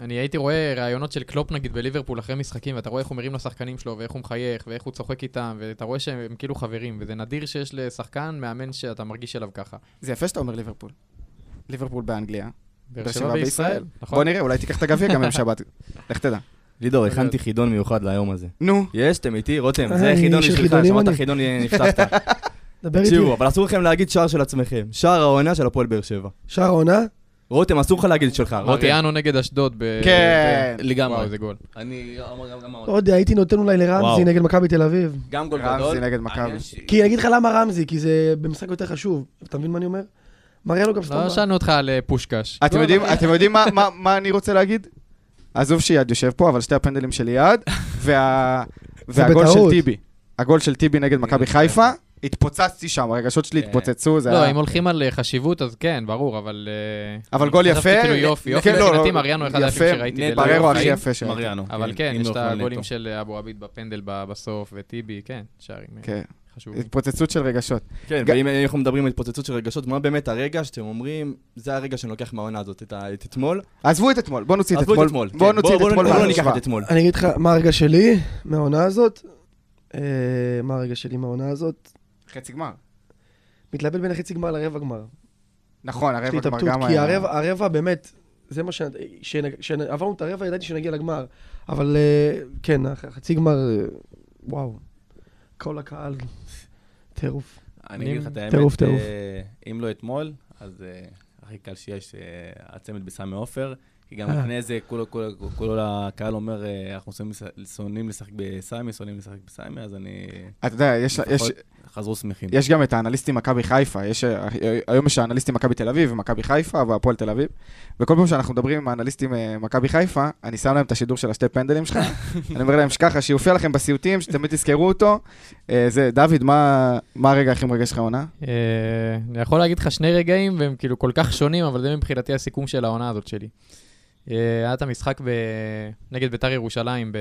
Speaker 6: אני הייתי רואה ראיונות של קלופ נגיד בליברפול אחרי משחקים, ואתה רואה איך הוא מרים לשחקנים שלו, ואיך הוא מחייך, ואיך הוא צוחק איתם, ואתה רואה שהם כאילו חברים, וזה נדיר שיש לשחקן מאמן שאתה מרגיש אליו ככה.
Speaker 1: זה יפה שאתה אומר ליברפול. ליברפול באנגליה,
Speaker 6: באר שבע בישראל, נכון?
Speaker 1: בוא נראה, אולי תיקח את הגביע גם יום שבת. לך תדע.
Speaker 2: לידור, הכנתי חידון מיוחד ליום הזה.
Speaker 1: נו,
Speaker 2: יש, אתם איתי, רותם,
Speaker 5: אה,
Speaker 2: זה חידון
Speaker 5: איש של
Speaker 2: בשבילך,
Speaker 5: חידונים
Speaker 2: שמעת
Speaker 5: אני.
Speaker 2: חידון נפתחת.
Speaker 5: דבר איתי.
Speaker 2: תראו, אבל אסור לכם להגיד שער של עצמכם. שער העונה של הפועל באר שבע.
Speaker 5: שער העונה,
Speaker 2: רותם, אסור לך להגיד את שלך, רותם.
Speaker 6: מריאנו נגד אשדוד ב...
Speaker 1: כן.
Speaker 6: ב-
Speaker 7: לגמרי.
Speaker 6: וואו, זה גול.
Speaker 7: אני גם- גם
Speaker 5: לא יודע, הייתי נותן אולי לרמזי
Speaker 7: נכון. וואו.
Speaker 5: נגד מכבי תל אביב.
Speaker 7: גם גול גדול.
Speaker 1: רמזי נגד מכבי.
Speaker 7: העניין ש-
Speaker 5: כי אני אגיד לך למה רמזי, כי זה במשחק יותר חשוב. אתה מבין מה אני אומר? מראה לו גם סתם.
Speaker 6: לא שאלנו אותך על אה, פושקש.
Speaker 5: לא,
Speaker 1: אתם יודעים- אתם יודעים מה- מה- מה אני רוצה להגיד? עזוב שיד יושב פה, אבל שתי הפנדלים של יד, וה- והגול של
Speaker 5: בטעות.
Speaker 1: טיבי. הגול של טיבי נגד מכבי
Speaker 7: נגד
Speaker 1: חיפה, התפוצצתי שם, הרגשות שלי
Speaker 7: כן.
Speaker 1: התפוצצו, זה
Speaker 6: לא,
Speaker 1: היה...
Speaker 6: אם הולכים על אה, חשיבות, אז כן, ברור, אבל... אה,
Speaker 1: אבל גול
Speaker 6: חשבתי
Speaker 1: יפה.
Speaker 6: כאילו יופי, יופי,
Speaker 1: כן, לא,
Speaker 6: מבחינתי
Speaker 1: לא,
Speaker 6: מריאנו אחד היפים
Speaker 1: יפה,
Speaker 6: שראיתי. לא
Speaker 7: נטו.
Speaker 6: בלייב
Speaker 1: בררו הכי
Speaker 6: בחיים.
Speaker 1: יפה ש...
Speaker 7: מריאנו.
Speaker 6: אבל כן,
Speaker 7: אם
Speaker 6: יש
Speaker 7: לא
Speaker 6: את
Speaker 7: אוכלן נטו.
Speaker 6: הגולים של אה, אבו עביד בפנדל ב- בסוף, וטיבי, כן, שערים אה,
Speaker 1: כן,
Speaker 6: חשובים.
Speaker 1: התפוצצות של רגשות.
Speaker 2: כן,
Speaker 1: ג-
Speaker 2: ואם אנחנו מדברים על התפוצצות של רגשות, מה באמת הרגע שאתם אומרים, זה הרגע שאני לוקח מהעונה הזאת, את ה- את אתמול?
Speaker 1: עזבו את אתמול, בואו נוציא את
Speaker 2: עזבו
Speaker 1: אתמול.
Speaker 2: את אתמול.
Speaker 1: בואו
Speaker 2: כן,
Speaker 1: נוציא את אתמול
Speaker 2: בואו לא
Speaker 1: מהמשוואה.
Speaker 2: ניקח את אתמול.
Speaker 5: אני אגיד לך מה הרגע שלי מהעונה הזאת. אה, מה הרגע שלי מהעונה הזאת?
Speaker 1: חצי גמר.
Speaker 5: מתלבט בין החצי גמר לרבע גמר.
Speaker 1: נכון,
Speaker 5: יש לי
Speaker 1: הרבע גמר
Speaker 5: התלבטות,
Speaker 1: גם
Speaker 5: כי
Speaker 1: היה.
Speaker 5: הרבע, הרבע באמת, זה מה ש... שנ- כשעברנו את הרבע ידעתי שנגיע לגמר, אבל אה, כן, הח- החצי גמר, אה, וואו, כל הקהל, טירוף.
Speaker 7: אני אגיד לך את האמת,
Speaker 5: טירוף,
Speaker 7: אה,
Speaker 5: טירוף.
Speaker 7: אם לא אתמול, אז אה, הכי קל שיש אה, הצמד בסמי עופר, כי גם
Speaker 5: אה.
Speaker 7: לפני זה כולו- כולו- כולו הקהל אומר, אה, אנחנו שונאים לש- שונאים לשחק בסמי, שונאים לשחק בסמי, אז אני...
Speaker 1: אתה יודע, יש- יש-
Speaker 7: לפחות חזרו שמחים.
Speaker 1: יש גם את האנליסטים מכבי חיפה, יש, אה, היום יש האנליסטים מכבי תל אביב ומכבי חיפה והפועל תל אביב, וכל פעם שאנחנו מדברים עם האנליסטים אה, מכבי חיפה, אני שם להם את השידור של השתי פנדלים שלך, אני אומר להם שככה, שיופיע לכם בסיוטים, שתמיד תזכרו אותו. אה, זה, דוד, מה מה הרגע הכי מרגש לך העונה?
Speaker 6: אה, אני יכול להגיד לך שני רגעים, והם כאילו כל כך שונים, אבל זה מבחינתי הסיכום של העונה הזאת שלי. אה, היה את המשחק ב... נגד ביתר ירושלים ב...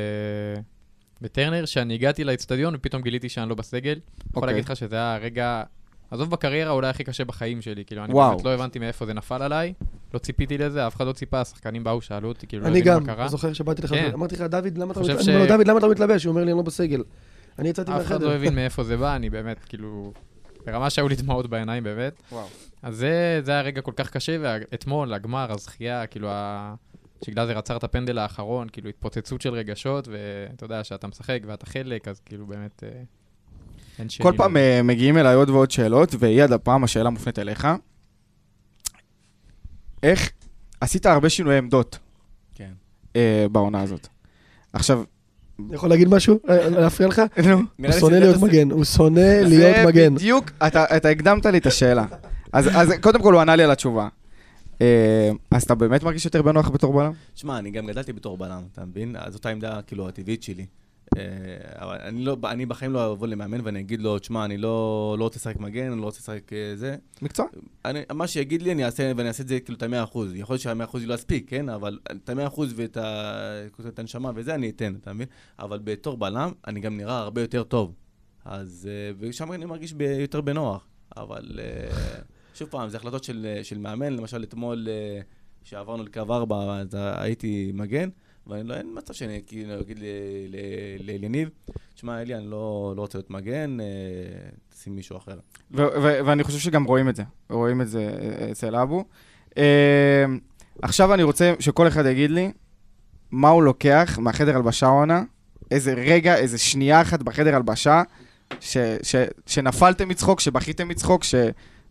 Speaker 6: בטרנר, שאני הגעתי לאצטדיון ופתאום גיליתי שאני לא בסגל. Okay. יכול
Speaker 1: אוקיי.
Speaker 6: להגיד לך שזה היה הרגע, עזוב בקריירה, אולי הכי קשה בחיים שלי. כאילו, אני
Speaker 1: וואו.
Speaker 6: באמת לא הבנתי מאיפה זה נפל עליי, לא ציפיתי לזה, אף אחד לא ציפה, השחקנים באו, שאלו אותי, כאילו, לא
Speaker 5: אני
Speaker 6: הבינו
Speaker 5: גם,
Speaker 6: מה קרה.
Speaker 5: זוכר שבאתי לך,
Speaker 6: כן.
Speaker 5: אמרתי לך, דוד, למה אתה
Speaker 6: חושב
Speaker 5: מתלבש?
Speaker 6: ש-
Speaker 5: אני אומר לו, דוד, למה אתה מתלבש? הוא אומר לי, אני לא בסגל. אני יצאתי
Speaker 6: אף אחד
Speaker 5: מהחדר.
Speaker 6: לא הבין מאיפה זה בא, אני באמת, כאילו, ברמה שהיו לי דמעות בעיניים, באמת.
Speaker 1: וואו.
Speaker 6: אז זה, זה היה רגע כל כך קשה, ואתמול, הגמר, הזכייה, כאילו, ה... שגלאזר עצר את הפנדל האחרון, כאילו, התפוצצות של רגשות, ואתה יודע, שאתה משחק ואתה חלק, אז כאילו, באמת, אה, אין שני.
Speaker 1: כל פעם אה, מגיעים אליי עוד ועוד שאלות, והיא עד הפעם השאלה מופנית אליך. איך עשית הרבה שינויי עמדות
Speaker 7: כן.
Speaker 1: אה, בעונה הזאת. עכשיו,
Speaker 5: אני יכול להגיד משהו? אה, להפריע לך?
Speaker 1: נו.
Speaker 5: הוא שונא להיות מגן, הוא שונא להיות מגן.
Speaker 1: זה בדיוק, אתה, אתה הקדמת לי את השאלה. אז, אז קודם כל הוא ענה לי על התשובה. אה, אז אתה באמת מרגיש יותר בנוח בתור בלם?
Speaker 7: שמע, אני גם גדלתי בתור בלם, אתה מבין? אז זאת העמדה, כאילו, הטבעית שלי. אה, אבל אני, לא, אני בחיים לא אבוא למאמן ואני אגיד לו, תשמע, אני לא, לא רוצה לשחק מגן, אני לא רוצה לשחק אה, זה.
Speaker 1: מקצוע.
Speaker 7: אני, מה שיגיד לי, אני אעשה, ואני אעשה את זה כאילו את המאה אחוז. יכול להיות שהמאה אחוז לא יספיק, כן? אבל את המאה אחוז ואת ה, את הנשמה וזה, אני אתן, אתה מבין? אבל בתור בלם, אני גם נראה הרבה יותר טוב. אז, אה, ושם אני מרגיש ב, יותר בנוח. אבל, אה, שוב פעם, זה החלטות של, אה, של מאמן. למשל, אתמול, אה, שעברנו לקו ארבע, אז הייתי מגן, ואני לא, אין מצב שאני כאילו אגיד ל- ל- לאליניב, תשמע, אלי, אני לא, לא רוצה להיות מגן, אה, תשים מישהו אחר.
Speaker 1: ו- ו- ואני חושב שגם רואים את זה. רואים את זה אה, אצל אבו. אה, עכשיו אני רוצה שכל אחד יגיד לי מה הוא לוקח מהחדר הלבשה העונה, איזה רגע, איזה שנייה אחת בחדר הלבשה, ש- ש- שנפלתם מצחוק, שבכיתם מצחוק, ש-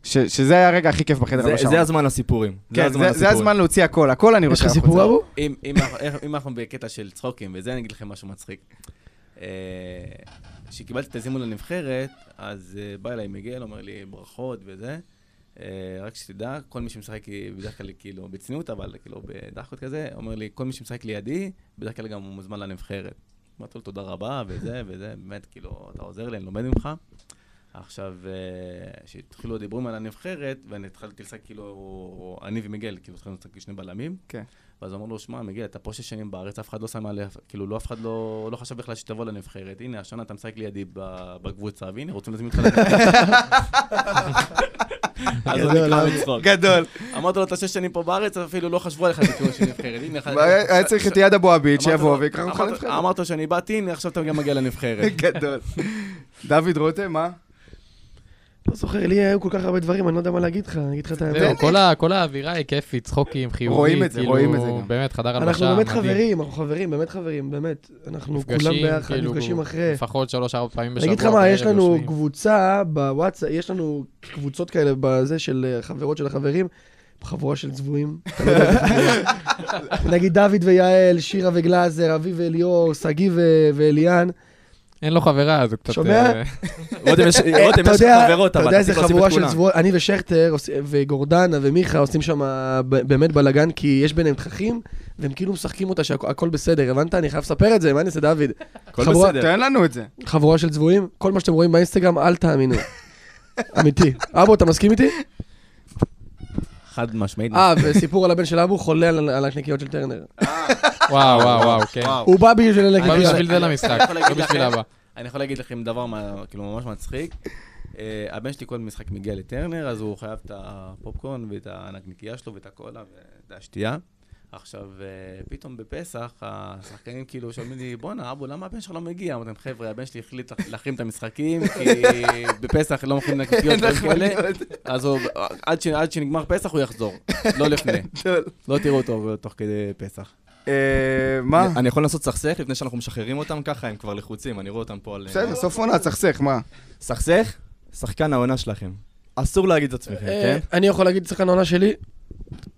Speaker 1: ש- שזה היה הרגע הכי כיף בחדר
Speaker 2: זה-
Speaker 1: הלבשה.
Speaker 2: זה הזמן לסיפורים.
Speaker 1: כן, זה- זה הזמן להוציא הכל, הכל אני
Speaker 5: יש
Speaker 1: רוצה
Speaker 5: לך סיפור אבו?
Speaker 7: אם, אם, אנחנו- איך- אם אנחנו בקטע של צחוקים, וזה אני אגיד לכם משהו מצחיק. אה, כשקיבלתי את הזימון לנבחרת, אז אה, בא אליי מגיע, אומר לי ברכות וזה. אה, רק שתדע, כל מי שמשחק אה, בדרך כלל כאילו בצניעות, אבל כאילו בדחקות כזה, אומר לי, כל מי שמשחק לידי, בדרך כלל גם הוא מוזמן לנבחרת. אמרתי לו תודה רבה וזה וזה, באמת, כאילו, אתה עוזר לי, אני לומד ממך. עכשיו, אה, כשהתחילו הדיבורים על הנבחרת, ואני התחלתי לשחק כאילו, אני ומיגל, כאילו, התחלנו לשחק כשני בלמים.
Speaker 1: כן.
Speaker 7: ואז אמרו לו, שמע, מיגל, אתה פה שש שנים בארץ, אף אחד לא שם עליך, כאילו, לא אף אחד לא, לא חשב בכלל שתבוא לנבחרת. הנה, השנה אתה משחק לידי ב- בקבוצה, והנה, רוצים להזמין אותך לנבחרת. אז הוא נקרא מצחוק.
Speaker 1: אה? גדול.
Speaker 7: אמרתי לו, אתה שש שנים פה בארץ, אפילו לא חשבו עליך בקבוצה של נבחרת. הנה, אחד...
Speaker 1: היה צריך את יד אבו עביד
Speaker 7: אמרת
Speaker 1: שיבוא
Speaker 7: אה, לו-
Speaker 1: ויקרא אותך
Speaker 7: אמרת-
Speaker 1: לנבחרת. כן.
Speaker 7: אמרת לו שאני באתי, הנה, עכשיו אתה גם מגיע לנבחרת.
Speaker 1: גדול. דוד רותם, מה?
Speaker 5: לא זוכר, לי היו כל כך הרבה דברים, אני לא יודע מה להגיד לך, אני אגיד לך את האמת.
Speaker 6: זהו, כל ה- כל האווירה היא כיפית, צחוקים, חיובית,
Speaker 1: רואים את זה,
Speaker 6: כאילו,
Speaker 1: רואים את זה גם.
Speaker 6: באמת, חדר הלבשה,
Speaker 5: אנחנו
Speaker 6: מדהים.
Speaker 5: באמת חברים, אנחנו חברים, באמת חברים, באמת. אנחנו כולם
Speaker 6: מפגשים,
Speaker 5: ביחד,
Speaker 6: כאילו,
Speaker 5: נפגשים אחרי.
Speaker 6: לפחות שלוש-ארבע פעמים
Speaker 5: אני
Speaker 6: בשבוע.
Speaker 5: אגיד לך מה, יש
Speaker 6: בערב
Speaker 5: לנו
Speaker 6: יושבים.
Speaker 5: קבוצה בוואטסאפ, יש לנו קבוצות כאלה בזה של אה, חברות של החברים. חבורה של צבועים. אתה לא יודע. נגיד דוד ויעל, שירה וגלאזר, אבי ואליאור, שגיא ו- ואליאן.
Speaker 6: אין לו חברה, אז הוא קצת...
Speaker 5: שומע?
Speaker 6: אה,
Speaker 2: רותם, יש רותם,
Speaker 5: אה, אתה
Speaker 2: יש לך
Speaker 5: יודע-
Speaker 2: חברות,
Speaker 5: אתה
Speaker 2: אבל
Speaker 5: יודע איזה
Speaker 2: צריך להוסיף את
Speaker 5: חבורה של
Speaker 2: כולם.
Speaker 5: צבועות, אני ושכטר עוש- וגורדנה ומיכה עושים שם ב- באמת בלאגן, כי יש ביניהם תככים, והם כאילו משחקים אותה שהכל בסדר, הבנת? אני חייב לספר את זה, מה אני אעשה, דוד?
Speaker 2: הכל
Speaker 5: חבורה-
Speaker 2: בסדר.
Speaker 1: תן לנו את זה.
Speaker 5: חבורה של צבועים, כל מה שאתם רואים באינסטגרם, אל תאמינו. אמיתי. אבו, אתה מסכים איתי?
Speaker 7: חד משמעית.
Speaker 5: אה, וסיפור על הבן של אבו חולה על על הנקניקיות של טרנר.
Speaker 2: אוקיי.
Speaker 6: וואו, וואו, וואו, כן.
Speaker 7: וואו.
Speaker 5: הוא בא בשביל
Speaker 6: הוא בא
Speaker 5: הנקניקיות.
Speaker 6: בשביל זה למשחק,
Speaker 7: יכול להגיד
Speaker 6: לא בשביל
Speaker 7: לכם-
Speaker 6: אבא.
Speaker 7: אני יכול להגיד לכם דבר מה- כאילו ממש מצחיק. אה, הבן שלי כל משחק מגיע לטרנר, אז הוא חייב את הפופקורן ואת הנקניקייה שלו ואת הקולה ואת השתייה. עכשיו, אה, פתאום בפסח, השחקנים כאילו שאומרים לי, בואנה, אבו, למה הבן שלך לא מגיע? אמרתי להם, חבר'ה, הבן שלי החליט לח- להחרים את המשחקים, כי בפסח לא מוכרים נקניקיות דברים
Speaker 1: נכון,
Speaker 7: כאלה, אז הוא- עד ש- עד שנגמר פסח הוא יחזור, לא לפני. לא תראו אותו תוך כדי פסח.
Speaker 1: אה, מה?
Speaker 2: אני יכול לנסות סכסך לפני שאנחנו משחררים אותם ככה, הם כבר לחוצים, אני רואה אותם פה על...
Speaker 1: בסדר, סוף עונה, סכסך, מה?
Speaker 2: סכסך, שחקן העונה שלכם. אסור להגיד את עצמכם,
Speaker 5: אה,
Speaker 2: כן?
Speaker 5: אני יכול להגיד שחקן העונה שלי,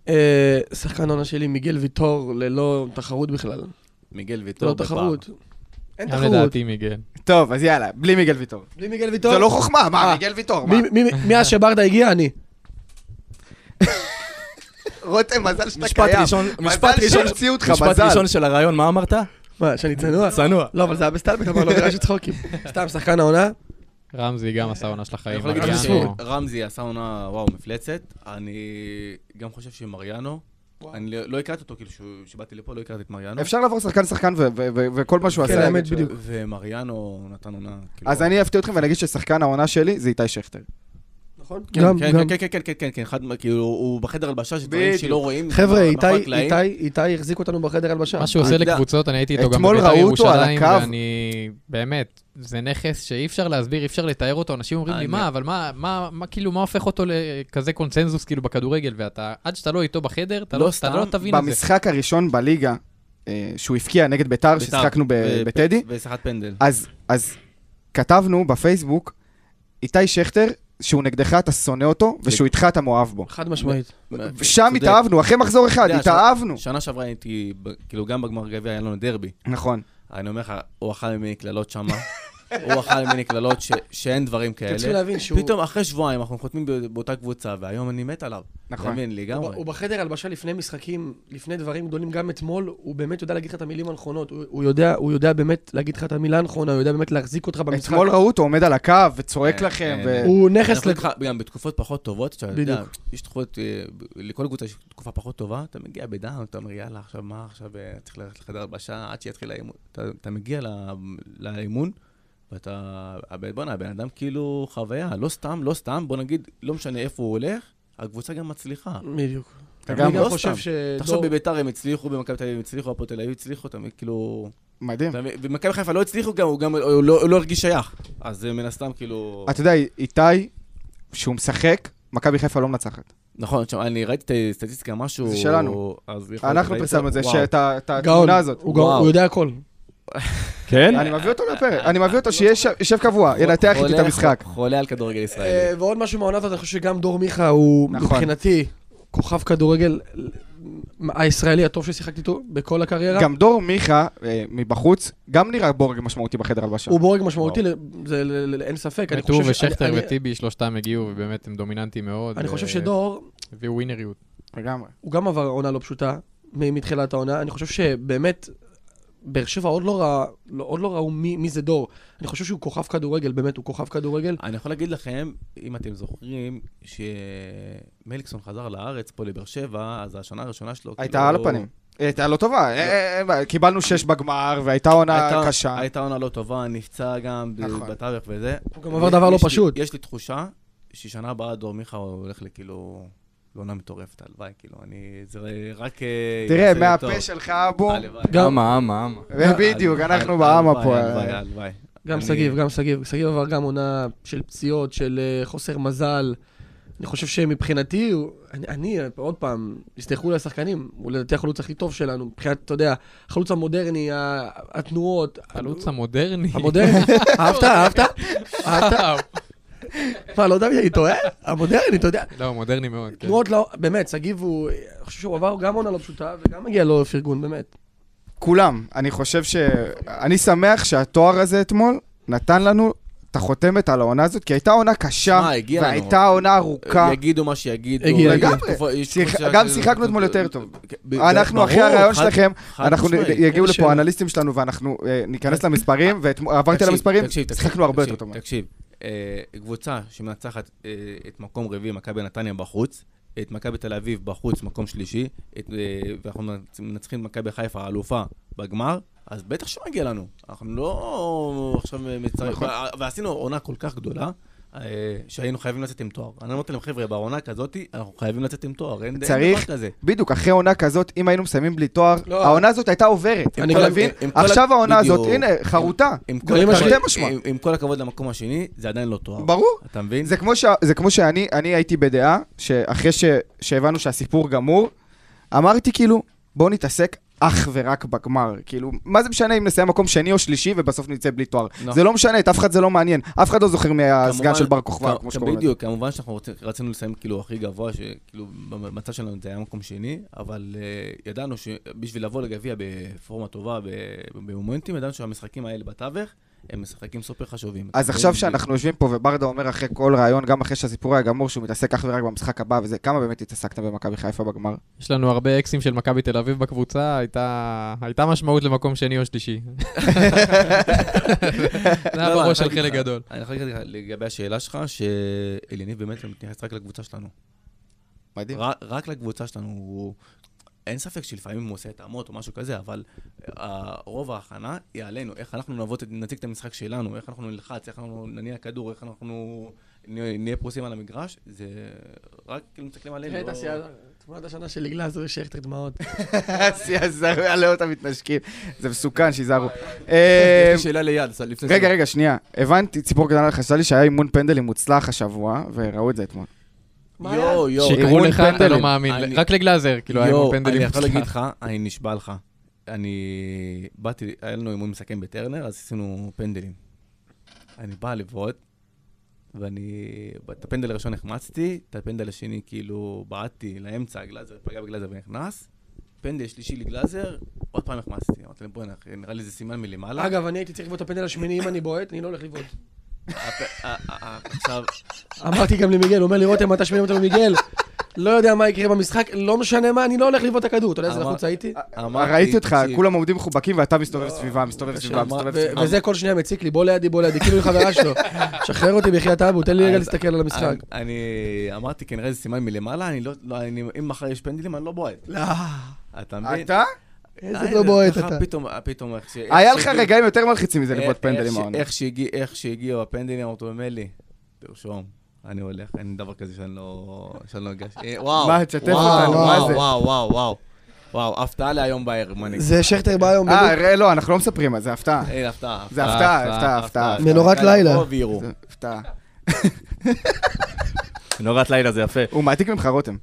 Speaker 5: אה, שחקן העונה שלי מיגל ויטור ללא תחרות בכלל.
Speaker 7: מיגל
Speaker 5: ללא
Speaker 7: ויטור
Speaker 5: לא
Speaker 1: לא,
Speaker 5: תחרות. אין
Speaker 6: גם
Speaker 5: תחרות.
Speaker 6: לדעתי מיגל.
Speaker 1: טוב, אז יאללה, בלי מיגל ויטור.
Speaker 5: בלי מיגל ויטור.
Speaker 1: זה לא חוכמה, מה, מיגל ויטור, מה?
Speaker 5: מי- מי- מי- מאז שברדה הגיע, אני.
Speaker 1: רותם, מזל שאתה
Speaker 2: משפט
Speaker 1: קיים.
Speaker 2: ראשון, משפט
Speaker 1: מזל
Speaker 2: ראשון,
Speaker 1: שהמציאו אותך,
Speaker 2: משפט
Speaker 1: מזל.
Speaker 2: ראשון של הרעיון, מה אמרת?
Speaker 5: מה, שאני צנוע?
Speaker 2: צנוע.
Speaker 5: לא, אבל זה היה בסטלבט, אמר לו, נראה שצחוקים. סתם, שחקן העונה.
Speaker 6: רמזי גם עשה עונה של החיים.
Speaker 7: אני יכול להגיד
Speaker 6: אבל
Speaker 7: לך
Speaker 6: גם הוא-
Speaker 7: שרמזי עשה עונה, וואו, מפלצת. אני גם חושב שמריאנו, אני לא לא הכרתי אותו, כאילו, שהוא- כשבאתי לפה לא הכרתי את מריאנו.
Speaker 1: אפשר לעבור שחקן-שחקן ו- ו- ו- וכל מה שהוא
Speaker 5: כן,
Speaker 1: עשה.
Speaker 5: האמת,
Speaker 1: ש-
Speaker 5: בדיוק.
Speaker 7: ומריאנו נתן עונה, כאילו...
Speaker 1: אז אני אפתיע אתכם ואני אגיד ששחקן העונה שלי זה איתי שכטר.
Speaker 5: נכון?
Speaker 7: כן,
Speaker 5: גם,
Speaker 7: כן,
Speaker 5: גם.
Speaker 7: כן, כן, כן, כן, כן, כן, חד, כאילו, הוא בחדר הלבשה שדברים
Speaker 1: בדיוק.
Speaker 7: שלא רואים. נכון,
Speaker 5: חבר'ה,
Speaker 1: נכון,
Speaker 7: מאחורי
Speaker 5: איתי-
Speaker 7: הקלעים.
Speaker 5: איתי איתי החזיק אותנו בחדר הלבשה.
Speaker 6: מה שהוא עושה
Speaker 7: אני יודע.
Speaker 6: לקבוצות, אני הייתי איתו גם
Speaker 1: אתמול
Speaker 6: בבית"ר
Speaker 1: ראו אותו על
Speaker 6: ירושלים,
Speaker 1: הקו.
Speaker 6: ואני... באמת, זה נכס שאי אפשר להסביר, אי אפשר לתאר אותו. אנשים אומרים לי,
Speaker 7: אני-
Speaker 6: מה, אבל מה, מה, מה, כאילו, מה הופך אותו לכזה קונצנזוס, כאילו, בכדורגל, ואתה, עד שאתה לא איתו בחדר, אתה
Speaker 7: לא
Speaker 6: לא אתה
Speaker 7: סתם,
Speaker 6: לא תבין את זה.
Speaker 1: במשחק הראשון בליגה, אה, שהוא הבקיע נגד ביתר,
Speaker 7: בית"ר,
Speaker 1: ששיחקנו ב-
Speaker 7: ו-
Speaker 1: בטדי,
Speaker 7: ושיחת פנדל.
Speaker 1: אז, אז כתבנו בפייסבוק, איתי שכטר, שהוא נגדך, אתה שונא אותו, ושהוא איתך, אתה מאוהב בו.
Speaker 5: חד משמעית.
Speaker 1: שם
Speaker 7: צודק.
Speaker 1: התאהבנו, אחרי מחזור אחד,
Speaker 7: אתה יודע,
Speaker 1: התאהבנו.
Speaker 7: שנה שעברה הייתי, ב- כאילו, גם בגמר גביע היה לנו דרבי.
Speaker 1: נכון.
Speaker 7: אני אומר לך, הוא אכל ממני קללות שמה. הוא אכל ממני קללות ש- שאין דברים כאלה.
Speaker 5: אתם צריכים להבין שהוא...
Speaker 7: פתאום אחרי שבועיים אנחנו חותמים ב- באותה קבוצה, והיום אני מת עליו.
Speaker 1: נכון.
Speaker 7: תאמין לי,
Speaker 5: הוא ב-
Speaker 7: לגמרי.
Speaker 5: הוא בחדר הלבשה לפני משחקים, לפני דברים גדולים, גם אתמול, הוא באמת יודע להגיד לך את המילים הנכונות. הוא- הוא יודע- הוא יודע באמת להגיד לך את המילה הנכונה, הוא יודע באמת להחזיק אותך במשחק.
Speaker 1: אתמול ראו אותו עומד על הקו וצועק
Speaker 7: כן,
Speaker 1: לכם,
Speaker 7: כן,
Speaker 1: ו-
Speaker 7: כן.
Speaker 5: הוא
Speaker 7: אנחנו
Speaker 5: נכס לת-
Speaker 7: איתך גם בתקופות פחות טובות, שאתה יודע,
Speaker 5: בדיוק.
Speaker 7: יש תקופות, אה, ב- לכל קבוצה יש תקופה פחות טובה, אתה מגיע בדאון, אתה אומר, יאללה, עכשיו מה, עכשיו אה, צריך ללכת לחדר הלבשה עד שיתחיל האימון. אתה- אתה מגיע ל- לאימון, ואתה, הבן- בואנה, הבן אדם כאילו חוויה, לא סתם, לא סתם, בוא נגיד, לא משנה איפה הוא הולך, הקבוצה גם מצליחה.
Speaker 5: בדיוק.
Speaker 1: אתה
Speaker 5: אני
Speaker 1: גם
Speaker 5: גם
Speaker 7: לא
Speaker 5: חושב
Speaker 7: סתם.
Speaker 5: שדור...
Speaker 7: תחשוב, בביתר הם הצליחו, במכבי תל אביב הצליחו, הפועל תל אביב הצליחו, אתה מבין, כאילו...
Speaker 1: מדהים.
Speaker 7: אתה מבין? ומכבי חיפה לא הצליחו גם, הוא גם הוא לא הוא לא הרגיש שייך. אז זה מן הסתם כאילו...
Speaker 1: אתה יודע, איתי, שהוא משחק, מכבי חיפה לא מנצחת.
Speaker 7: נכון, עכשיו, אני ראיתי את הסטטיסטיקה, משהו...
Speaker 1: זה שלנו.
Speaker 7: אז יכול להיות
Speaker 1: אנחנו
Speaker 7: שראית-
Speaker 1: פרסמנו את זה,
Speaker 7: וואו.
Speaker 1: שאת ה- את
Speaker 5: גאון.
Speaker 1: התמונה הזאת.
Speaker 5: הוא גאון,
Speaker 7: וואו.
Speaker 5: הוא יודע הכל.
Speaker 2: כן?
Speaker 1: אני מביא אותו לפרק, אני מביא אותו שיהיה ש- שב קבוע, ינתח איתי את
Speaker 7: חולה-
Speaker 1: המשחק.
Speaker 7: חולה על כדורגל
Speaker 5: אה,
Speaker 7: ישראלי.
Speaker 5: ועוד משהו מהעונה הזאת, אני חושב שגם דור מיכה הוא
Speaker 1: נכון.
Speaker 5: מבחינתי כוכב כדורגל אה, הישראלי הטוב ששיחקתי איתו בכל הקריירה.
Speaker 1: גם דור מיכה, אה, מבחוץ, גם נראה בורג משמעותי בחדר הלבשה.
Speaker 5: הוא בורג משמעותי, ל- זה ל- ל- ל- אין ספק. אני
Speaker 6: וטור
Speaker 5: חושב ש-
Speaker 6: ושכטר
Speaker 5: אני- אני-
Speaker 6: וטיבי, שלושתם הגיעו, ובאמת הם דומיננטיים מאוד.
Speaker 5: אני
Speaker 6: ו-
Speaker 5: חושב שדור,
Speaker 6: הביאו ווינריות.
Speaker 1: לגמרי.
Speaker 5: הוא גם עבר עונה לא פשוטה מ- מתחילת העונה. אני חושב שבאמת, באר שבע עוד לא ראה- לא- עוד לא ראו מי מי זה דור. אני חושב שהוא כוכב כדורגל, באמת, הוא כוכב כדורגל.
Speaker 7: אני יכול להגיד לכם, אם אתם זוכרים, שמליקסון חזר לארץ פה לבאר שבע, אז השנה הראשונה שלו...
Speaker 1: הייתה
Speaker 7: כאילו-
Speaker 1: על הפנים. היא הייתה לא טובה, אה, אה, אה, קיבלנו שש בגמר, והייתה עונה
Speaker 7: הייתה-
Speaker 1: קשה.
Speaker 7: הייתה עונה לא טובה, נפצע גם ב-
Speaker 1: נכון.
Speaker 7: בתווך וזה.
Speaker 5: הוא גם עבר דבר לא
Speaker 7: יש לי-
Speaker 5: פשוט.
Speaker 7: יש לי תחושה ששנה הבאה דור מיכה הולך לכאילו... לעונה מטורפת, הלוואי, כאילו, אני... זה רק... אה,
Speaker 1: תראה,
Speaker 7: יעשה לי
Speaker 1: מהפה
Speaker 7: טוב.
Speaker 1: שלך, בום.
Speaker 7: הלוואי.
Speaker 5: גם-
Speaker 2: אמה, אמה, אמה.
Speaker 1: בדיוק,
Speaker 7: הלוואי,
Speaker 1: אנחנו בעם
Speaker 7: הלוואי,
Speaker 1: פה.
Speaker 7: הלוואי, הלוואי.
Speaker 5: גם
Speaker 7: אני-
Speaker 5: שגיב, גם שגיב. שגיב עבר גם עונה של פציעות, של אה, חוסר מזל. אני חושב שמבחינתי, הוא- אני, אני, עוד פעם, יסלחו לי השחקנים, הוא לדעתי החלוץ הכי טוב שלנו, מבחינת, אתה יודע, החלוץ המודרני, ה- התנועות.
Speaker 6: חלוץ המודרני.
Speaker 5: המודרני. אהבת? אהבת? אהבת? מה, לא דוד, אני טועה? המודרני, אתה יודע.
Speaker 6: לא, מודרני מאוד. כן.
Speaker 5: תנועות לא... באמת, שגיב הוא... אני חושב שהוא עבר גם עונה לא פשוטה, וגם מגיע לו פרגון, באמת.
Speaker 1: כולם. אני חושב ש... אני שמח שהתואר הזה אתמול נתן לנו את החותמת על העונה הזאת, כי הייתה עונה קשה,
Speaker 7: מה, הגיע לנו. אה,
Speaker 1: והייתה עונה ארוכה.
Speaker 7: יגידו מה שיגידו.
Speaker 5: הגיע,
Speaker 7: יש
Speaker 1: לגמרי.
Speaker 7: תקופה- יש
Speaker 1: שיח-
Speaker 7: תקופה כאילו
Speaker 1: גם
Speaker 7: ש-
Speaker 1: שיחקנו אתמול יותר טוב.
Speaker 7: כן, ב-
Speaker 1: אנחנו
Speaker 7: ברור,
Speaker 1: אחרי הרעיון
Speaker 7: חד-
Speaker 1: שלהם,
Speaker 7: חד
Speaker 1: אנחנו
Speaker 7: משמעית.
Speaker 1: יגיעו
Speaker 5: אין
Speaker 1: לפה
Speaker 5: שאלה.
Speaker 1: האנליסטים שלנו ואנחנו אה, ניכנס למספרים, ועברתי
Speaker 7: תקשיב,
Speaker 1: על המספרים,
Speaker 7: תקשיב, תקשיב,
Speaker 1: שיחקנו הרבה
Speaker 7: תקשיב,
Speaker 1: יותר טוב.
Speaker 7: תקשיב, אה, קבוצה שמנצחת אה, את מקום רביעי, מכבי נתניה בחוץ, את מכבי תל אביב בחוץ, מקום שלישי, את, אה, ואנחנו מנצ- מנצחים את מכבי חיפה, האלופה, בגמר, אז בטח שמגיע לנו. אנחנו לא עכשיו מצטרף...
Speaker 1: נכון.
Speaker 7: ועשינו עונה כל כך גדולה. אה, שהיינו חייבים לצאת עם תואר. אני אמרתי להם, חבר'ה, בעונה כזאת, אנחנו חייבים לצאת עם תואר, אין אין דבר
Speaker 1: צריך,
Speaker 7: כזה.
Speaker 1: בדיוק, אחרי עונה כזאת, אם היינו מסיימים בלי תואר,
Speaker 5: לא.
Speaker 1: העונה הזאת הייתה עוברת.
Speaker 5: אני
Speaker 1: אתה
Speaker 5: גם-
Speaker 1: מבין?
Speaker 7: עם כל
Speaker 1: עכשיו
Speaker 7: ה-
Speaker 1: העונה הזאת,
Speaker 7: בדיוק.
Speaker 1: הנה, חרוטה.
Speaker 7: עם כל
Speaker 5: דברים
Speaker 7: הכבוד-
Speaker 1: תרתי משמע.
Speaker 7: עם- עם כל הכבוד למקום השני, זה עדיין לא תואר.
Speaker 1: ברור.
Speaker 7: אתה מבין?
Speaker 1: זה כמו, ש... זה כמו שאני אני הייתי בדעה, שאחרי ש... שהבנו שהסיפור גמור, אמרתי כאילו, בואו נתעסק אך ורק בגמר. כאילו, מה זה משנה אם נסיים מקום שני או שלישי ובסוף נצא בלי תואר?
Speaker 7: נכון.
Speaker 1: זה לא משנה, את אף אחד זה לא מעניין. אף אחד לא זוכר מי היה הסגן
Speaker 7: כמובן-
Speaker 1: של בר כוכבא,
Speaker 7: כ-
Speaker 1: כמו
Speaker 7: כ-
Speaker 1: שקוראים לזה.
Speaker 7: בדיוק, כמובן שאנחנו רוצים- רצינו לסיים כאילו הכי גבוה, שכאילו במצב שלנו זה היה מקום שני, אבל אה, ידענו שבשביל לבוא לגביע בפורמה טובה, ב- במומנטים, ידענו שהמשחקים האלה בתווך, הם משחקים סופר חשובים.
Speaker 1: אז עכשיו שאנחנו יושבים פה וברדה אומר אחרי כל ראיון, גם אחרי שהסיפור היה גמור, שהוא מתעסק אך ורק במשחק הבא וזה, כמה באמת התעסקתם במכבי חיפה בגמר?
Speaker 6: יש לנו הרבה אקסים של מכבי תל אביב בקבוצה, הייתה הייתה משמעות למקום שני או שלישי. זה היה
Speaker 7: לא, לא,
Speaker 6: בראש
Speaker 7: אני
Speaker 6: של
Speaker 7: חייב
Speaker 6: חלק
Speaker 7: להגיד לך-
Speaker 6: גדול.
Speaker 7: אני חייב להגיד לך לגבי השאלה שלך, שאליניב באמת מתייחס רק לקבוצה שלנו.
Speaker 1: מדהים.
Speaker 7: ר- רק לקבוצה שלנו הוא... אין ספק שלפעמים הוא עושה התאמות או משהו כזה, אבל אה, רוב ההכנה היא עלינו, איך אנחנו נבוא, נציג את המשחק שלנו, איך אנחנו נלחץ, איך אנחנו נניע כדור, איך אנחנו נה- נהיה פרוסים על המגרש, זה רק כאילו מסתכלים עלינו.
Speaker 5: תראה את
Speaker 7: לא-
Speaker 5: השיער, תמונת השנה של גלאזר, שייכת דמעות.
Speaker 1: אסי עזר, יעלה אותם מתנשקים. זה מסוכן, שיזהרו. אה,
Speaker 2: יש לי שאלה ליד, ס- לפני...
Speaker 1: רגע,
Speaker 2: זה.
Speaker 1: רגע, שנייה. הבנתי, ציפור קטנה חשבה לי שהיה אימון פנדלים מוצלח השבוע, וראו את זה אתמול.
Speaker 7: יואו, יואו.
Speaker 6: שיקרו
Speaker 1: אימון
Speaker 6: לך, אתה לא
Speaker 1: פנדלים.
Speaker 6: מאמין.
Speaker 7: אני-
Speaker 6: רק לגלאזר, כאילו, היה עם
Speaker 7: יואו,
Speaker 6: הפנדלים.
Speaker 7: אני יכול להגיד לך, אני נשבע לך. אני באתי, היה לנו אימון מסכם בטרנר, אז עשינו פנדלים. אני בא לבעוט, ואני... את הפנדל הראשון החמצתי, את הפנדל השני כאילו בעטתי לאמצע, גלאזר פגע בגלאזר ונכנס. פנדל שלישי לגלאזר, עוד פעם החמצתי. אמרתי להם, בוא'נה, אחי, נראה לי זה סימן מלמעלה.
Speaker 5: אגב, אני הייתי צריך לבעוט את הפנדל השמיני, אם אני בועט, אני לא הולך לבעוט.
Speaker 7: הפ- ה- ה- ה- עכשיו,
Speaker 5: אמרתי גם למיגל, הוא אומר לי, רותם, אתה שמיני אותו למיגל. לא יודע מה יקרה במשחק, לא משנה מה, אני לא הולך לבעוט את הכדור. אתה יודע איזה
Speaker 7: אמר-
Speaker 5: לחוץ הייתי?
Speaker 7: אמרתי...
Speaker 1: ראיתי אותך,
Speaker 7: "תקשיב,
Speaker 1: כולם עומדים מחובקים ואתה מסתובב סביבה, מסתובב סביבה, מסתובב
Speaker 5: ו-
Speaker 1: סביבה.
Speaker 5: וזה כל שנייה מציק לי, בוא לידי, בוא לידי, כאילו היא חברה שלו. שחרר אותי בחייאת אבו, תן לי רגע
Speaker 7: אז
Speaker 5: להסתכל על המשחק.
Speaker 7: אני- אני אמרתי כנראה זה סימן מלמעלה, אני לא, לא, אני, אם מחר יש פנדלים, אני לא בועט. לא. אתה מבין?
Speaker 1: אתה?
Speaker 5: איזה
Speaker 7: די,
Speaker 5: לא
Speaker 7: זה
Speaker 5: בועט
Speaker 7: ככה
Speaker 5: אתה.
Speaker 7: פתאום, אה, פתאום איך ש...
Speaker 1: היה
Speaker 7: איך
Speaker 1: לך
Speaker 7: שהגיע- אה,
Speaker 1: רגעים יותר מלחיצים מזה
Speaker 7: איך-
Speaker 1: לבעוט
Speaker 7: איך
Speaker 1: פנדלים
Speaker 7: ש-
Speaker 1: העונה.
Speaker 7: איך שהגיע- איך שהגיעו הפנדלים, אמרתי לו, מלי, תרשום, אני הולך, אין דבר כזה שאני לא... שאני לא אגש. אה, וואו,
Speaker 1: מה, תשתף
Speaker 7: וואו,
Speaker 1: אותנו, מה זה?
Speaker 7: וואו, וואו, וואו, וואו, הפתעה להיום בערב, מנהיג.
Speaker 5: זה שכטר בא היום,
Speaker 1: אה,
Speaker 5: בדיוק.
Speaker 1: ראה, לא, אנחנו לא מספרים על זה, הפתעה.
Speaker 7: אין, אה, הפתעה.
Speaker 1: זה הפתעה, הפתעה, הפתעה.
Speaker 5: מנורת
Speaker 7: כאלה
Speaker 5: לילה.
Speaker 7: פה ויראו.
Speaker 1: זה הפתעה.
Speaker 7: מנורת לילה זה יפה.
Speaker 1: הוא מעתיק ממך רותם.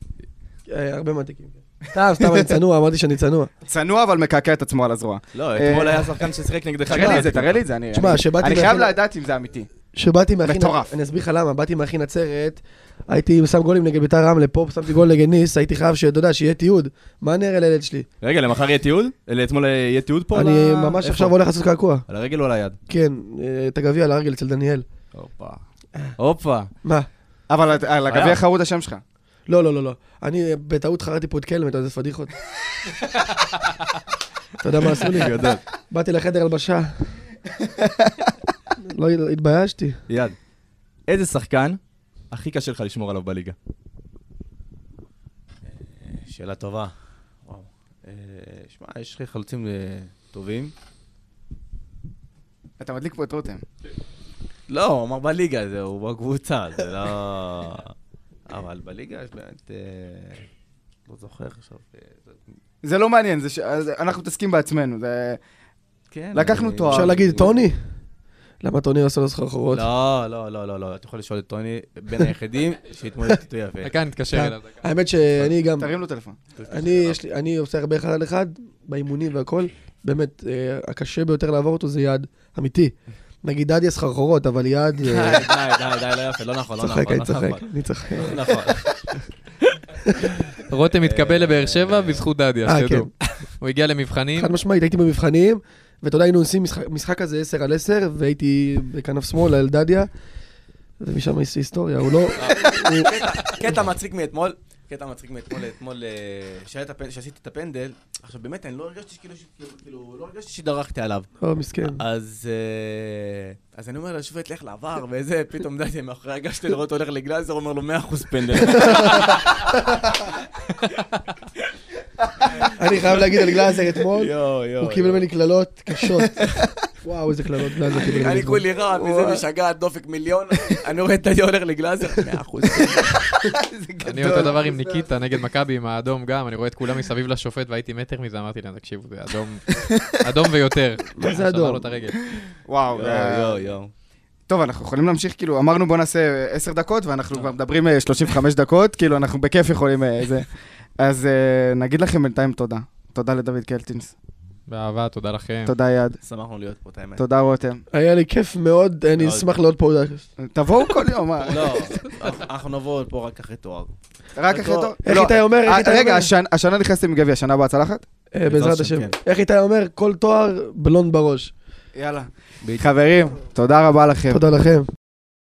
Speaker 5: אה, הרבה מעתיקים. סתם, סתם, אני צנוע, אמרתי שאני צנוע.
Speaker 1: צנוע אבל מקעקע את עצמו על הזרוע.
Speaker 7: לא,
Speaker 1: אה,
Speaker 7: אתמול היה שחקן ששיחק נגדך.
Speaker 1: תראה לי את זה, תראה לי את זה. אני-
Speaker 5: תשמע,
Speaker 1: אני-
Speaker 5: שבאתי
Speaker 1: אני חייב
Speaker 5: מהחדר-
Speaker 1: לדעת אם זה אמיתי.
Speaker 5: כשבאתי מהכי...
Speaker 1: מטורף.
Speaker 5: אני אסביר לך למה, באתי מהכי נצרת, הייתי שם גולים נגד ביתר רמלה, פה שמתי גול נגד ניס, הייתי חייב שאתה יודע, שיהיה תיעוד. מה נר על הילד שלי?
Speaker 2: רגע, למחר יהיה תיעוד? לאתמול יהיה תיעוד פה? על
Speaker 5: אני
Speaker 2: ה-
Speaker 5: ממש
Speaker 2: איפה?
Speaker 5: עכשיו הולך לעשות קעקוע.
Speaker 2: על הרגל או על היד?
Speaker 5: כן, אה, את הגביע על הרגל אצל דניאל.
Speaker 2: הופה. הופה.
Speaker 5: מה?
Speaker 1: אבל על הגביע חרוד השם שלך.
Speaker 5: לא, לא, לא, לא. אני אה, בטעות חרדתי פה את קלם, אתה יודע, זה פדיחות. אתה יודע מה עשו לי?
Speaker 2: גדול.
Speaker 5: באתי לחדר הלבשה. לא התביישתי.
Speaker 2: יד. איזה שחקן הכי קשה לך לשמור עליו בליגה?
Speaker 7: שאלה טובה. וואו. אה, שמע, יש לך חלוצים אה, טובים.
Speaker 1: אתה מדליק פה את רותם.
Speaker 7: לא, הוא אמר בליגה, זה הוא בקבוצה, זה לא... אבל בליגה יש באמת... אה, לא זוכר עכשיו. אה, זה-
Speaker 1: זה לא מעניין, זה ש- אז אנחנו מתעסקים בעצמנו. זה...
Speaker 7: כן.
Speaker 1: לקחנו
Speaker 7: אה,
Speaker 1: תואר.
Speaker 5: אפשר להגיד, טוני? למה טוני עושה לו סחרחורות?
Speaker 7: לא, לא, לא, לא, לא, אתה יכול לשאול את טוני, בין היחידים שהתמודד איתו יפה.
Speaker 6: דקה,
Speaker 7: כן.
Speaker 6: נתקשר אליו. דקה.
Speaker 5: האמת שאני גם,
Speaker 1: תרים לו טלפון.
Speaker 5: אני, יש לי, אני עושה הרבה אחד על אחד, באימונים והכל, באמת, אה, הקשה ביותר לעבור אותו זה יעד אמיתי. נגיד דדי הסחרחורות, אבל יעד... אה,
Speaker 8: די, די, די, לא יפה, לא נכון, לא נכון.
Speaker 5: צוחק,
Speaker 8: לא
Speaker 5: אני צוחק,
Speaker 8: נכון.
Speaker 5: אני צוחק.
Speaker 8: לא נכון.
Speaker 7: אה,
Speaker 6: רותם התקבל לבאר שבע בזכות דדיה,
Speaker 5: אה,
Speaker 6: שתדעו.
Speaker 7: כן.
Speaker 6: הוא הגיע למבחנים,
Speaker 5: חד משמעית, הייתי במבחנים, ואתה יודע, היינו עושים משחק- משחק כזה 10 על 10, והייתי בכנף שמאל על דדיה, ומשם יש היסטוריה, הוא לא...
Speaker 7: קטע מצחיק מאתמול, קטע מצחיק מאתמול, אתמול, אה, שהיה את הפנ- שעשיתי את הפנדל, עכשיו באמת, אני לא הרגשתי שכאילו, ש- כאילו- כאילו, לא הרגשתי שדרכתי עליו.
Speaker 5: לא, מסכן.
Speaker 7: אז אה, אז אני אומר לשופט, לך לעבר, וזה, פתאום דני מאחורי הגשתי לראות הולך לגלאזר, אומר לו 100% פנדל.
Speaker 5: אני חייב להגיד על גלאזר אתמול,
Speaker 7: יואו, יואו.
Speaker 5: הוא קיבל ממני קללות קשות. וואו, איזה קללות גלאזר קיבל ממני.
Speaker 7: אני
Speaker 5: אתמול.
Speaker 7: כולי רע, וזה משגעת, דופק מיליון, אני רואה את דני הולך לגלאזר, 100%.
Speaker 6: אני אותו דבר עם ניקיטה נגד מכבי, עם האדום גם, אני רואה את כולם מסביב לשופט והייתי מטר מזה, אמרתי להם, תקשיבו, זה אדום, אדום ויותר.
Speaker 5: מה זה
Speaker 6: שבר
Speaker 5: אדום?
Speaker 6: לו את הרגל.
Speaker 1: וואו.
Speaker 7: יואו, יואו, יואו.
Speaker 1: טוב, אנחנו יכולים להמשיך, כאילו, אמרנו בוא נעשה 10 דקות, ואנחנו כבר מדברים אה, 35 דקות, כאילו, אנחנו בכיף יכולים אה, זה. אז אה, נגיד לכם בינתיים תודה. תודה לדוד קלטינס,
Speaker 7: כן.
Speaker 6: באהבה, תודה לכם.
Speaker 1: תודה יד,
Speaker 7: שמחנו להיות פה, את האמת.
Speaker 1: תודה רותם.
Speaker 5: היה לי כיף מאוד, אני אשמח לעוד פה.
Speaker 1: תבואו כל יום, אה, מה?
Speaker 7: לא, אנחנו- אנחנו נבוא פה רק אחרי תואר.
Speaker 1: רק אחרי תור.
Speaker 5: איך
Speaker 1: לא,
Speaker 5: איתי אומר, איך
Speaker 1: אה,
Speaker 5: איתי
Speaker 1: רגע,
Speaker 5: אומר?
Speaker 1: השנה- השנה נכנסתם עם גביע, שנה הבאה צלחת?
Speaker 5: אה, בעזרת השם.
Speaker 7: כן.
Speaker 5: איך איתי אומר? כל תואר בלון בראש.
Speaker 1: יאללה. חברים, תודה רבה לכם.
Speaker 5: תודה לכם.